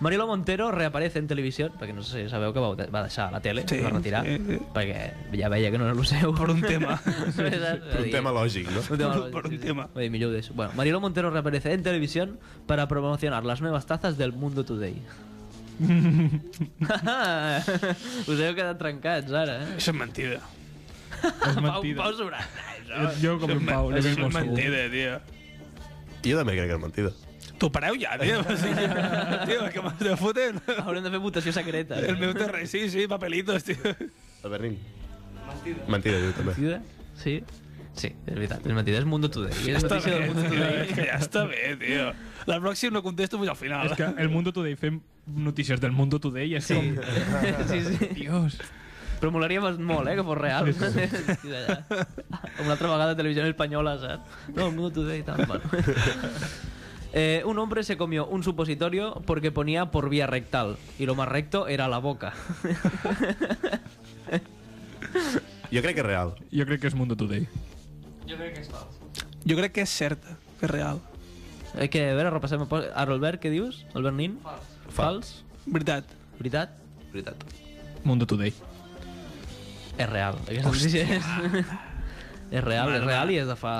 Speaker 2: Marilo Montero reaparece en televisión, perquè no sé si sabeu que va, va deixar la tele,
Speaker 4: Sí,
Speaker 2: sí, va retirar,
Speaker 4: sí,
Speaker 2: sí,
Speaker 4: sí.
Speaker 2: sí. perquè ja veia que no era el seu.
Speaker 4: Per un tema.
Speaker 1: Per un tema lògic, no?
Speaker 2: Un tema
Speaker 4: Por-
Speaker 2: lògic,
Speaker 4: por un
Speaker 2: sí, sí.
Speaker 4: tema.
Speaker 2: Oye, millor ho deixo. Bueno, Marilo Montero reaparece en televisión para promocionar las nuevas tazas del Mundo Today. Us heu quedat trencats ara, eh?
Speaker 4: Això és mentida.
Speaker 2: Pau,
Speaker 3: És mentida.
Speaker 2: Pau Sobrat.
Speaker 3: Jo com en Pau, jo
Speaker 4: Això
Speaker 3: vinc
Speaker 4: és
Speaker 3: molt segur.
Speaker 4: mentida, tio.
Speaker 1: Jo també crec que és mentida.
Speaker 4: T'ho pareu ja, tio. O sigui, tio, que m'has de fotre.
Speaker 2: Haurem de fer votació secreta.
Speaker 4: El meu terreny, sí, sí, papelitos, tio.
Speaker 1: Albert Nin. Mentida. Mentida, jo també.
Speaker 2: Mentida? Sí? Sí, és veritat, és mentida, és Mundo Today. És
Speaker 4: Està
Speaker 2: notícia
Speaker 4: bé,
Speaker 2: del Mundo
Speaker 4: tio,
Speaker 2: Today.
Speaker 4: és que ja està bé, tio. La pròxima no contesto fins al final.
Speaker 3: És que el Mundo Today fem notícies del Mundo Today i és
Speaker 2: Sí.
Speaker 3: com...
Speaker 2: sí, sí.
Speaker 3: Dios.
Speaker 2: Però molaria bas- molt, eh, que fos real. Sí, allà. Una altra vegada televisió espanyola, saps? No, el Mundo Today, tal, bueno. Eh, un hombre se comió un supositorio porque ponía por vía rectal y lo más recto era la boca.
Speaker 1: Jo crec que és real.
Speaker 3: Jo crec que és Mundo Today.
Speaker 4: Jo crec que és certa, que és real.
Speaker 2: Eh, que, a veure, repassem... un poc. Ara, Albert, què dius? Albert Nin? Fals. Fals?
Speaker 4: Veritat.
Speaker 2: Veritat?
Speaker 1: Veritat.
Speaker 3: Mundo Today.
Speaker 2: És real. Aquesta notícia és... és real, és real i és de fa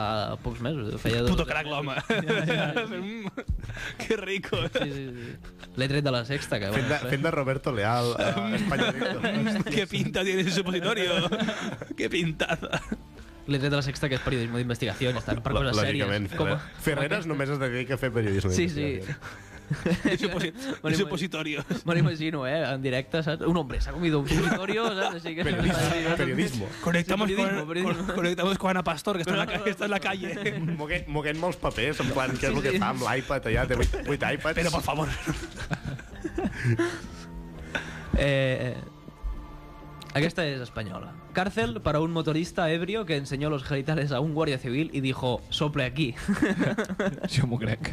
Speaker 2: pocs mesos. Feia dos-
Speaker 4: Puto crac, l'home. Mm, que rico.
Speaker 2: Sí, sí, sí. L'he tret de la sexta, que...
Speaker 1: Fent de, fent de Roberto Leal a Espanya Directo.
Speaker 4: Qué pinta tiene ese supositorio. Qué pintada.
Speaker 2: L'he tret de la sexta, que és periodisme d'investigació, estan per
Speaker 1: Lò-
Speaker 2: coses
Speaker 1: eh?
Speaker 2: sèries.
Speaker 1: Lògicament, Ferrer- Ferreres només es dedica a fer periodisme.
Speaker 2: Sí, sí. Bueno, i-
Speaker 4: Supositorios.
Speaker 2: Me lo imagino, eh, en directe, saps? Un hombre s'ha comido un supositorio, saps? Així que...
Speaker 1: Periodismo.
Speaker 4: Conectamos,
Speaker 2: Sí, periodismo,
Speaker 4: con,
Speaker 2: periodismo.
Speaker 4: con- conectamos con Ana Pastor, que está, en, la, ca- está en la calle.
Speaker 1: Moguent, moguent molts papers, en plan, què és el que
Speaker 2: Sí, sí.
Speaker 1: fa amb l'iPad allà, té 8, 8 iPads.
Speaker 4: Pero por favor.
Speaker 2: Eh, eh, aquesta es española. Cárcel para un motorista ebrio que enseñó los genitales a un guardia civil y dijo, sople aquí.
Speaker 3: Jo m'ho crec.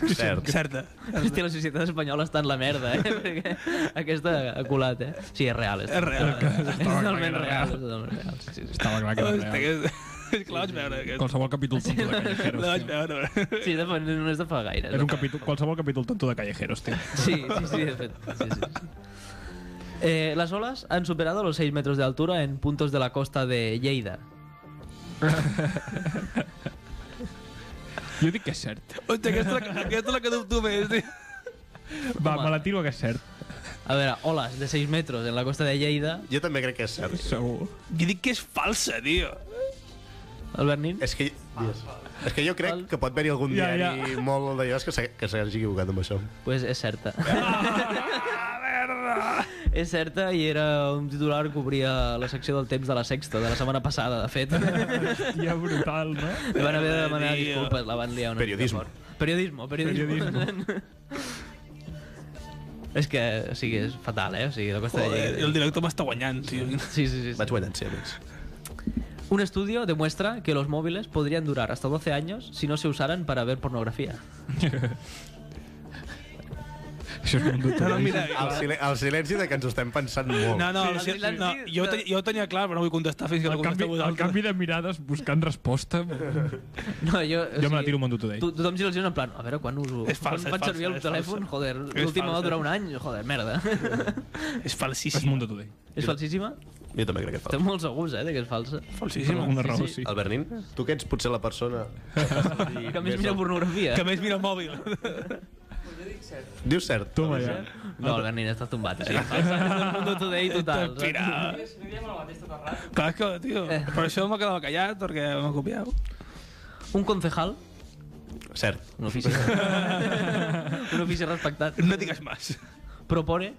Speaker 1: Jo- Cert.
Speaker 4: Certa.
Speaker 2: Hòstia, la societat espanyola està en la merda, eh? Perquè aquesta ha colat, eh? Sí, és real. És,
Speaker 4: És real.
Speaker 2: És totalment
Speaker 3: Era
Speaker 2: real.
Speaker 3: real.
Speaker 2: És totalment real. Sí, sí, sí.
Speaker 3: Estava clar que
Speaker 4: Hòstia,
Speaker 3: era real.
Speaker 4: que... és que la vaig veure. Aquest.
Speaker 3: Qualsevol capítol tonto de Callejeros,
Speaker 4: La vaig
Speaker 3: tio.
Speaker 4: veure.
Speaker 2: sí de, fa- no és de fa gaire.
Speaker 3: És un capítol, qualsevol capítol tonto de Callejeros, tio.
Speaker 2: Sí, sí, sí, de fet. Sí, sí, sí. Eh, las olas han superado los 6 metros de altura en puntos de la costa de Lleida.
Speaker 3: Jo dic que és cert.
Speaker 4: Hòstia, aquesta, és la- aquesta és la que tu més, tio.
Speaker 3: Va,
Speaker 2: Home.
Speaker 3: me la tiro que és cert.
Speaker 2: A veure, olas de 6 metros en la costa de Lleida.
Speaker 1: Jo també crec que és cert.
Speaker 3: Segur.
Speaker 4: Jo dic que és falsa, tio.
Speaker 2: Albert Nin?
Speaker 1: És que, és que jo crec que pot haver-hi algun
Speaker 3: Ja,
Speaker 1: diari ja, ja. molt d'allò és que s'ha- que s'hagi equivocat amb això.
Speaker 2: Pues és certa. és certa i era un titular que obria la secció del temps de la sexta de la setmana passada, de fet.
Speaker 3: Hòstia, brutal, no?
Speaker 2: Li van haver de demanar
Speaker 4: Merde, tio.
Speaker 2: disculpes, la van liar una
Speaker 1: Periodismo.
Speaker 2: mica fort. Periodismo, periodismo. periodismo. és que, o sigui, és fatal, eh? O sigui, la costa de
Speaker 4: Joder,
Speaker 2: Lleida.
Speaker 4: el director m'està guanyant, tio.
Speaker 2: Sí, sí, sí. sí.
Speaker 1: Vaig guanyant, sí, amics.
Speaker 2: Un estudio demuestra que los móviles podrían durar hasta 12 años si no se usaran para ver pornografía.
Speaker 3: Això és un
Speaker 4: No,
Speaker 3: dubte.
Speaker 4: no, mira,
Speaker 2: Ah,
Speaker 1: El, silen el silenci de que ens ho estem pensant molt.
Speaker 4: no, no, el
Speaker 2: Sí,
Speaker 4: sil-
Speaker 2: sí,
Speaker 4: no,
Speaker 2: sí.
Speaker 4: jo, ho tenia, jo ho tenia clar, però no vull contestar fins que no
Speaker 3: El canvi,
Speaker 4: contesteu
Speaker 3: el
Speaker 4: vosaltres.
Speaker 3: canvi de mirades buscant resposta...
Speaker 2: No, jo... o
Speaker 3: Jo me
Speaker 2: sigui,
Speaker 3: la tiro Mondo Today.
Speaker 2: To tothom s'il·lusiona en plan, a veure, quan uso...
Speaker 4: És falsa,
Speaker 2: quan
Speaker 4: és
Speaker 2: faig servir el
Speaker 4: falsa, és
Speaker 2: telèfon?
Speaker 4: falsa.
Speaker 2: Joder,
Speaker 4: És
Speaker 2: l'última va
Speaker 4: falsa.
Speaker 2: durar un any? Joder, merda.
Speaker 4: És
Speaker 3: És
Speaker 4: falsíssim.
Speaker 3: Mundo Today.
Speaker 2: és falsíssima?
Speaker 1: Jo també crec que
Speaker 2: Estem
Speaker 1: fa.
Speaker 2: molt segurs, eh, de que és falsa.
Speaker 3: Per
Speaker 4: Falsíssim.
Speaker 3: alguna raó, sí.
Speaker 1: El Bernin, tu que ets potser la persona...
Speaker 2: Que a més mira pornografia.
Speaker 4: Que més mira el mòbil.
Speaker 1: Dius cert.
Speaker 3: Toma ja.
Speaker 2: No, el Bernin està tombat. Sí, falsa. És el Mundo Today total. saps?
Speaker 4: Mira. Clar que, tio, per això m'ha quedat callat, perquè m'ha copiat.
Speaker 2: Un concejal,
Speaker 1: Cert.
Speaker 2: un ofici... un ofici respectat,
Speaker 4: No digues més.
Speaker 2: propone...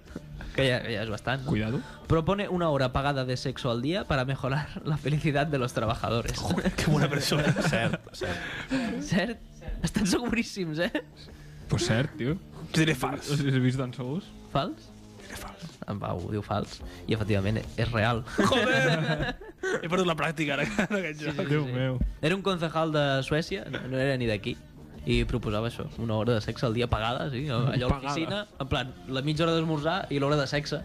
Speaker 2: Que ja, que ja és bastant. no?
Speaker 3: Cuidado.
Speaker 2: Propone una hora pagada de sexo al día para mejorar la felicidad de los trabajadores.
Speaker 4: Que bona persona.
Speaker 1: Cert, cert.
Speaker 2: Cert? Estan seguríssims, eh?
Speaker 3: Pues cert, tio.
Speaker 4: Jo diré fals.
Speaker 3: Us he vist tan segurs?
Speaker 2: Fals?
Speaker 4: Diré fals.
Speaker 2: En Pau diu fals. I, efectivament, és real.
Speaker 4: Joder! He perdut la pràctica, ara, en aquest joc.
Speaker 3: Déu meu.
Speaker 2: Era un concejal de Suècia, no, no era ni d'aquí, i proposava això, una hora de sexe al dia pagada, sí? allò a
Speaker 3: Pagada.
Speaker 2: l'oficina, en plan, la mitja hora d'esmorzar i l'hora de sexe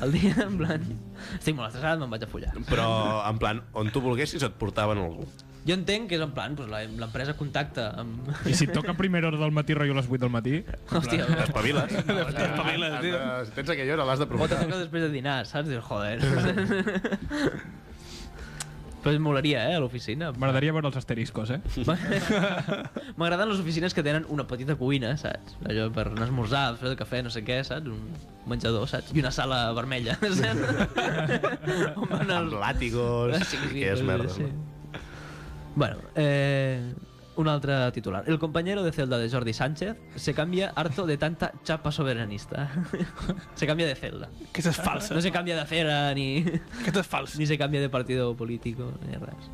Speaker 2: al dia, en plan... Estic molt estressat, me'n vaig a follar.
Speaker 1: Però, en plan, on tu volguessis et portaven algú.
Speaker 2: Jo entenc que és en plan, doncs, la- l'empresa contacta amb...
Speaker 3: I si et toca a primera hora del matí, rotllo a les 8 del matí,
Speaker 2: Hòstia,
Speaker 1: T'espaviles.
Speaker 4: Espaviles, tio.
Speaker 1: Si tens aquella hora, l'has de
Speaker 2: O te
Speaker 1: provocar.
Speaker 2: toca després de dinar, saps? Dius, joder. Però es molaria, eh, a l'oficina.
Speaker 3: m'agradaria veure els asteriscos, eh?
Speaker 2: M'agraden les oficines que tenen una petita cuina, saps? Allò per anar a esmorzar, fer el cafè, no sé què, saps? Un menjador, saps? I una sala vermella, saps? On van els- Ah,
Speaker 1: Amb làtigos, que és
Speaker 2: sí,
Speaker 1: merda.
Speaker 2: sí.
Speaker 1: no?
Speaker 2: Bueno, eh, un altre titular. El compañero de celda de Jordi Sánchez se cambia harto de tanta chapa soberanista. se cambia de celda.
Speaker 4: Aquesta és falsa.
Speaker 2: No se cambia de acera ni...
Speaker 4: Aquesta és falsa.
Speaker 2: Ni se cambia de partido político, ni res.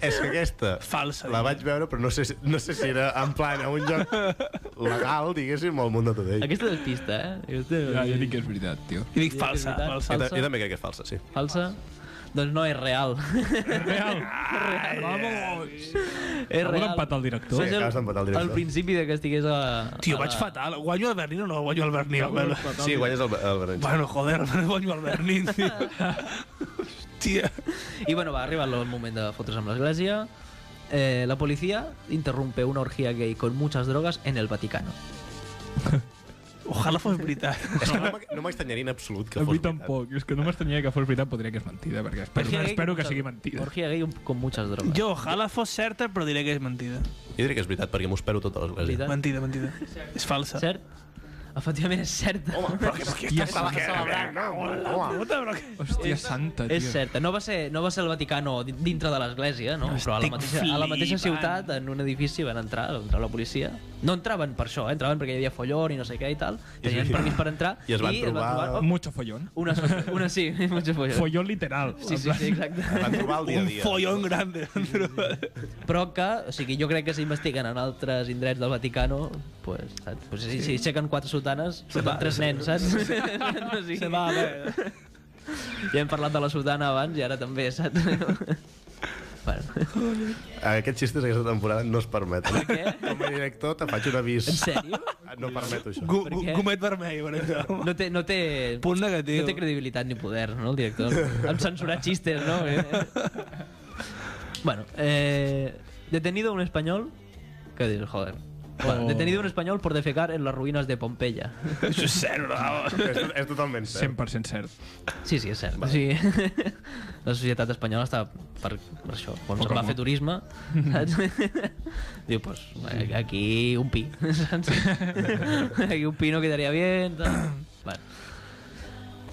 Speaker 1: És que aquesta
Speaker 4: Falsa.
Speaker 1: la vaig veure, però no sé, si- no sé si era en plan a un lloc legal, diguéssim, o al món de tot ell.
Speaker 2: Aquesta despista, eh? Aquesta...
Speaker 3: Ja, jo dic que és veritat, tio.
Speaker 4: I dic falsa.
Speaker 2: És veritat.
Speaker 4: falsa.
Speaker 1: Jo, ta-
Speaker 2: falsa.
Speaker 1: jo també crec que és falsa, sí.
Speaker 2: Falsa? Doncs no, és real.
Speaker 3: Real! Real! Vamos!
Speaker 2: és
Speaker 3: Algú
Speaker 2: real.
Speaker 3: d'empatar el director?
Speaker 2: Saps
Speaker 1: Sí, acabes d'empatar el director.
Speaker 2: Al principi de que estigués a...
Speaker 4: Tio,
Speaker 2: a
Speaker 4: vaig
Speaker 2: la-
Speaker 4: fatal. Guanyo el Bernin o no guanyo el Bernin? Albert?
Speaker 1: Sí, guanyes el, el Bernin.
Speaker 4: Bueno, joder, guanyo el Bernin, tio. Hòstia.
Speaker 2: I bueno, va arribar el moment de fotre's amb l'església. Eh, la policía interrumpe una orgía gay con muchas drogas en el Vaticano.
Speaker 4: Ojalà fos veritat.
Speaker 1: És que no m'ha- no m'estranyaria en absolut que
Speaker 3: A
Speaker 1: fos
Speaker 3: mi
Speaker 1: veritat.
Speaker 3: tampoc. És que no m'estranyaria que fos veritat, podria que és mentida, perquè espero,
Speaker 2: Orgía gay
Speaker 3: espero
Speaker 2: con
Speaker 3: que
Speaker 2: muchas-
Speaker 3: sigui mentida.
Speaker 2: Orgía gay con muchas drogas.
Speaker 4: Jo, ojalà fos certa, però diré que és mentida.
Speaker 1: Jo diré que és veritat, perquè m'ho espero tot a l'església.
Speaker 2: Veritat?
Speaker 4: Mentida, mentida. És falsa.
Speaker 2: Cert? Efectivament, és certa. Home, però
Speaker 3: Hòstia,
Speaker 4: Puta, però que...
Speaker 3: hòstia santa, tio.
Speaker 2: és certa. No va, ser, no va ser el Vaticano di- dintre de l'església, no? Però a la,
Speaker 3: Estic
Speaker 2: mateixa, a la mateixa
Speaker 3: flipant.
Speaker 2: ciutat, en un edifici, van entrar, va entrar la policia. No entraven per això, eh? entraven perquè hi havia follón i no sé què i tal. Tenien permís per entrar.
Speaker 1: I es van trobar-
Speaker 3: Mucho follón.
Speaker 2: Una, so- una sí, mucho follón.
Speaker 3: Follón literal.
Speaker 2: Sí, sí, sí, exacte.
Speaker 1: Van trobar el dia a
Speaker 4: Un
Speaker 1: dia.
Speaker 4: follón grande.
Speaker 2: Però que, o sigui, jo crec que s'investiguen en altres indrets del Vaticano, pues, saps? Pues, si, si aixequen quatre sotanes, surten tres nens, saps? O sigui,
Speaker 4: Se va, a ver.
Speaker 2: ja hem parlat de la sotana abans i ara també, saps? bueno,
Speaker 1: Aquests xistes aquesta temporada no es permeten. Per
Speaker 2: què?
Speaker 1: Com a director te faig un avís. Ah,
Speaker 2: en sèrio?
Speaker 1: No permeto això.
Speaker 4: Gu-
Speaker 2: Per
Speaker 4: gu-
Speaker 2: què?
Speaker 4: Gomet vermell, per exemple.
Speaker 2: No té, no té,
Speaker 4: Punt negatiu.
Speaker 2: no té credibilitat ni poder, no, el director? Han censurat xistes, no? bueno, eh, detenido un espanyol... Què dius, joder? Bueno,
Speaker 4: Oh.
Speaker 2: Detenido un espanyol por defecar en las ruïnes de Pompeya.
Speaker 4: Això és cert, bravo.
Speaker 1: És, és totalment cert.
Speaker 3: 100% cert.
Speaker 2: Sí, sí, és cert. Vale. Sí. La societat espanyola està per, per això. Quan se'n va
Speaker 3: com-
Speaker 2: fer turisme,
Speaker 4: Mm.
Speaker 2: saps? Diu, pues, aquí un pi, saps? Aquí un pi no quedaria bien, tal. Bueno.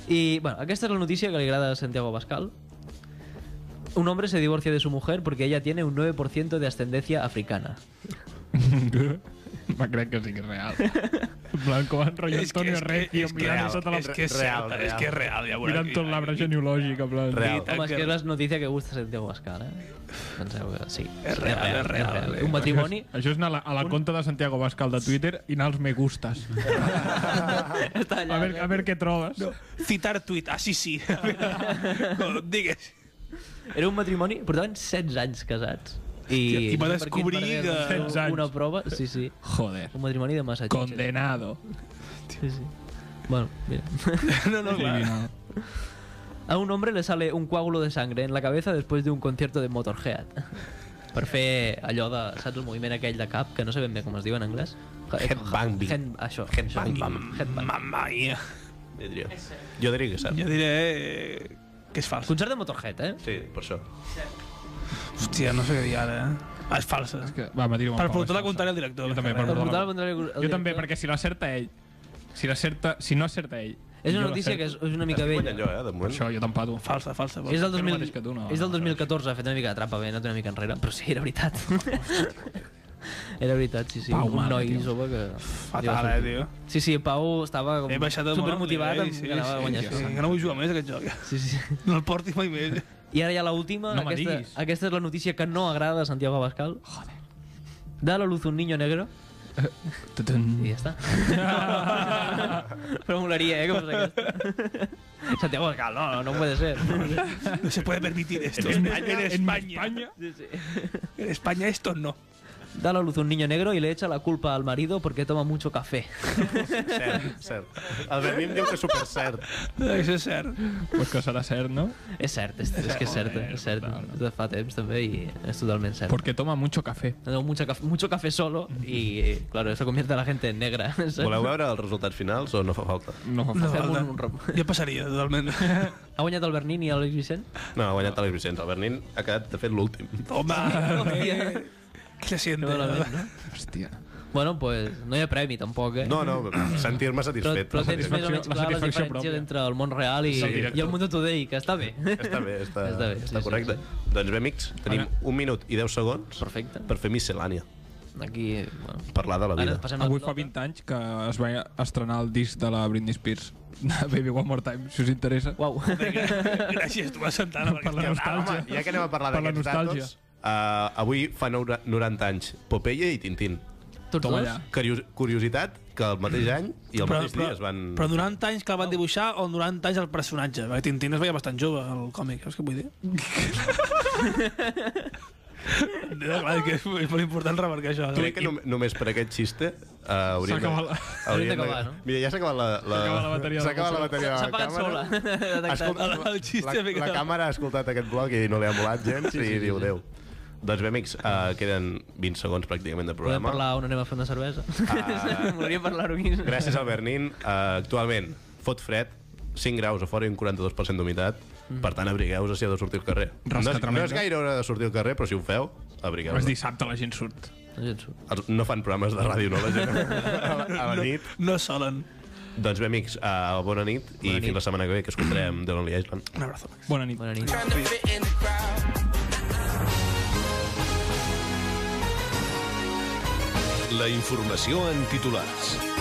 Speaker 2: Y, bueno, aquesta és la notícia que li agrada a Santiago Pascal. Un hombre se divorcia de su mujer porque ella tiene un 9% de ascendencia africana.
Speaker 3: Me crec que sí que és real. En plan, com en rotllo
Speaker 4: És que-
Speaker 3: Antonio
Speaker 4: és que-
Speaker 3: Rey, tio,
Speaker 4: és que-
Speaker 3: mirant sota la...
Speaker 4: És que és cert,
Speaker 1: Real,
Speaker 4: és que és real. Ja veurà
Speaker 3: Mirant tot l'arbre genealògic, en plan...
Speaker 1: Real.
Speaker 2: Home, és
Speaker 4: Ah, que-
Speaker 2: que és la notícia que gusta a Santiago Pascal, eh? Penseu que sí.
Speaker 4: És real, és real, eh?
Speaker 2: Un matrimoni...
Speaker 3: Això és anar a la, a la conta de Santiago Bascal de Twitter i anar als me gustes.
Speaker 4: Ah.
Speaker 2: Està allà, eh?
Speaker 3: A veure, a veure què trobes.
Speaker 4: No, citar tuit, ah, sí, sí. No, Digues.
Speaker 2: Era un matrimoni, portaven 16 anys casats. I,
Speaker 4: i va
Speaker 2: no sé per
Speaker 4: descobrir
Speaker 2: quin
Speaker 4: que-
Speaker 2: merder,
Speaker 3: 16 anys.
Speaker 2: Una prova, sí, sí.
Speaker 3: Joder.
Speaker 2: Un matrimoni de Massachusetts.
Speaker 3: Condenado.
Speaker 2: Sí, sí. Bueno, mira.
Speaker 4: No, no, clar.
Speaker 3: Criminal.
Speaker 2: A un hombre le sale un coágulo de sangre en la cabeza después de un concierto de Motorhead. Per fer allò de, saps, el moviment aquell de cap, que no sé ben bé com es diu en anglès.
Speaker 1: Headbanging.
Speaker 2: Head- això.
Speaker 1: Headbanging.
Speaker 2: això. Headbang.
Speaker 4: Mamma mia.
Speaker 1: Jo diria. Jo diria que és cert.
Speaker 4: Jo diré eh, que és fals.
Speaker 2: Concert de Motorhead, eh?
Speaker 1: Sí, per això.
Speaker 4: Hòstia, no sé què dir ara, eh? Ah, és falsa.
Speaker 3: Que- Va, me tiro un
Speaker 4: Per
Speaker 3: poc,
Speaker 4: portar la
Speaker 3: això.
Speaker 4: contrària al director.
Speaker 3: Jo també, per
Speaker 2: Per
Speaker 3: portar
Speaker 2: portar al
Speaker 3: la
Speaker 2: contrari el
Speaker 3: Jo també,
Speaker 2: director.
Speaker 3: perquè si l'acerta ell, si l'acerta, si no acerta ell...
Speaker 2: És
Speaker 3: i
Speaker 2: una
Speaker 3: jo
Speaker 2: notícia
Speaker 3: l'acerto,
Speaker 2: que és, és una mica
Speaker 1: Guanya
Speaker 2: vella.
Speaker 1: allò, eh, de
Speaker 3: Per
Speaker 1: moment.
Speaker 3: això jo t'empato.
Speaker 4: Falsa, falsa.
Speaker 2: És
Speaker 4: falsa.
Speaker 2: del, 2000,
Speaker 3: mereix que tu, no.
Speaker 2: és del 2014, ha fet una mica de trampa, bé, no té una mica enrere, però sí, era veritat. era veritat, sí, sí.
Speaker 3: Pau,
Speaker 2: un
Speaker 3: mare,
Speaker 2: noi
Speaker 3: tio.
Speaker 2: jove que...
Speaker 4: Fatal, eh, tio.
Speaker 2: Sí, sí, Pau estava com
Speaker 4: He baixat el
Speaker 2: supermotivat
Speaker 4: moral,
Speaker 2: amb
Speaker 4: eh?
Speaker 2: sí, anava a guanyar
Speaker 4: sí,
Speaker 2: això.
Speaker 4: Que no vull jugar més a aquest joc.
Speaker 2: Sí, sí.
Speaker 4: No el portis mai més.
Speaker 2: I ara ja l'última,
Speaker 3: No me
Speaker 2: aquesta,
Speaker 3: diguis.
Speaker 2: aquesta és la notícia que no agrada a Santiago Abascal. Joder. Da a la luz un niño negro i ja està. però molaria, eh, que fos aquesta. Santiago Abascal, no, no puede ser.
Speaker 4: No se puede permitir esto.
Speaker 3: En
Speaker 4: En
Speaker 3: España, en España.
Speaker 4: España. En España esto no.
Speaker 2: Da a la luz un niño negro y le echa la culpa al marido porque toma mucho café.
Speaker 1: Cert, cert. El Berni em diu que és supercert.
Speaker 4: Això és cert.
Speaker 3: Pues que serà cert, no?
Speaker 2: És cert, és, és que és cert, és cert. És de fa temps també i és totalment cert.
Speaker 3: Porque toma mucho café.
Speaker 2: No, mucho, caf- mucho café solo y, claro, eso convierte a la gente en negra. ¿sabes?
Speaker 1: Voleu veure els resultats finals o no fa falta?
Speaker 3: No fa
Speaker 4: No,
Speaker 3: falta.
Speaker 2: Fem
Speaker 4: falta.
Speaker 2: un- un rom.
Speaker 4: Jo passaria, totalment.
Speaker 2: Ha guanyat el Bernin i el Luis Vicent?
Speaker 1: No, ha guanyat Àlex Vicenç. El Bernin ha quedat, de fet, l'últim.
Speaker 4: Home,
Speaker 2: hòstia.
Speaker 4: eh, què se siente?
Speaker 2: Que malament, no?
Speaker 3: Hòstia.
Speaker 2: Bueno, pues no hi ha premi tampoc, eh?
Speaker 1: No, no, sentir-me
Speaker 2: però,
Speaker 1: satisfet.
Speaker 2: però tens més o menys clar les
Speaker 3: La satisfacció
Speaker 2: diferències
Speaker 3: pròpia.
Speaker 2: entre el món real i,
Speaker 3: És el director.
Speaker 2: i el Mundo Today, que està bé.
Speaker 1: Està bé, està,
Speaker 2: Està
Speaker 1: està, bé,
Speaker 2: bé, sí,
Speaker 1: està
Speaker 2: sí,
Speaker 1: correcte. Doncs bé, amics, tenim
Speaker 3: Ara-
Speaker 1: un minut i 10 segons
Speaker 2: Perfecte.
Speaker 1: per fer miscel·lània.
Speaker 2: Aquí, bueno.
Speaker 1: Parlar de la vida.
Speaker 2: Ara passem la
Speaker 3: Avui fa
Speaker 2: pilota.
Speaker 3: 20 anys que es va estrenar el disc de la Britney Spears. Baby One More Time, si us interessa.
Speaker 2: Uau.
Speaker 4: Gràcies, Tomàs Santana, per
Speaker 3: la
Speaker 4: aquesta
Speaker 3: nostàlgia.
Speaker 1: Ah, Ja que anem a parlar
Speaker 3: Per la
Speaker 1: d'aquests
Speaker 3: nostàlgia.
Speaker 1: datos, uh, avui fa noura- 90 anys Popeye i Tintín.
Speaker 2: Tots
Speaker 3: Toma
Speaker 2: dos?
Speaker 3: allà.
Speaker 1: Curios curiositat que el
Speaker 2: Mm.
Speaker 1: mateix any i el mateix dia es van...
Speaker 4: però durant anys que el van dibuixar o durant anys el personatge? Perquè Tintín es veia bastant jove, el còmic, saps què vull dir? no, clar, és que és molt important remarcar això.
Speaker 1: Crec que nom només per aquest xiste uh, hauríem...
Speaker 3: S'ha acabat la-
Speaker 1: hauríem
Speaker 2: d'acabar, no?
Speaker 1: Mira, ja s'ha acabat la... la...
Speaker 3: S'ha acabat la bateria de
Speaker 1: S'ha acabat la
Speaker 3: la
Speaker 1: bateria de
Speaker 2: S'ha
Speaker 1: la
Speaker 2: apagat sola.
Speaker 1: càmera.
Speaker 2: Detectat.
Speaker 1: Escolta,
Speaker 4: El xiste
Speaker 1: la,
Speaker 4: fica-
Speaker 1: la càmera ha escoltat aquest blog i no li ha molat gens sí, sí, i diu,
Speaker 2: sí.
Speaker 1: Déu. Doncs bé, amics, uh, queden 20 segons pràcticament de
Speaker 2: Podem
Speaker 1: programa.
Speaker 2: parlar on anem a fer una cervesa?
Speaker 1: Ah.
Speaker 2: Volia parlar-ho aquí.
Speaker 1: Gràcies al Bernin. Uh, actualment, fot fred, 5 graus a fora i un 42% d'humitat. Per tant, abrigueu-vos si heu de sortir al carrer.
Speaker 3: Rasca
Speaker 1: No és, no
Speaker 3: tremenda.
Speaker 1: és gaire hora de sortir al carrer, però si ho feu,
Speaker 3: És
Speaker 1: abrigueu-vos.
Speaker 3: dissabte, la gent surt.
Speaker 2: No gens surt.
Speaker 1: Els- No fan programes de ràdio, no, la gent? A la, a la nit.
Speaker 4: No solen.
Speaker 1: Doncs bé, amics, uh, bona nit i
Speaker 2: Bona nit.
Speaker 1: fins la setmana que ve, que escoltarem The Lonely Island.
Speaker 4: Un abrazo.
Speaker 3: Bona nit.
Speaker 2: Bona nit.
Speaker 7: Trying to fit in the crowd.
Speaker 6: La informació en titulars.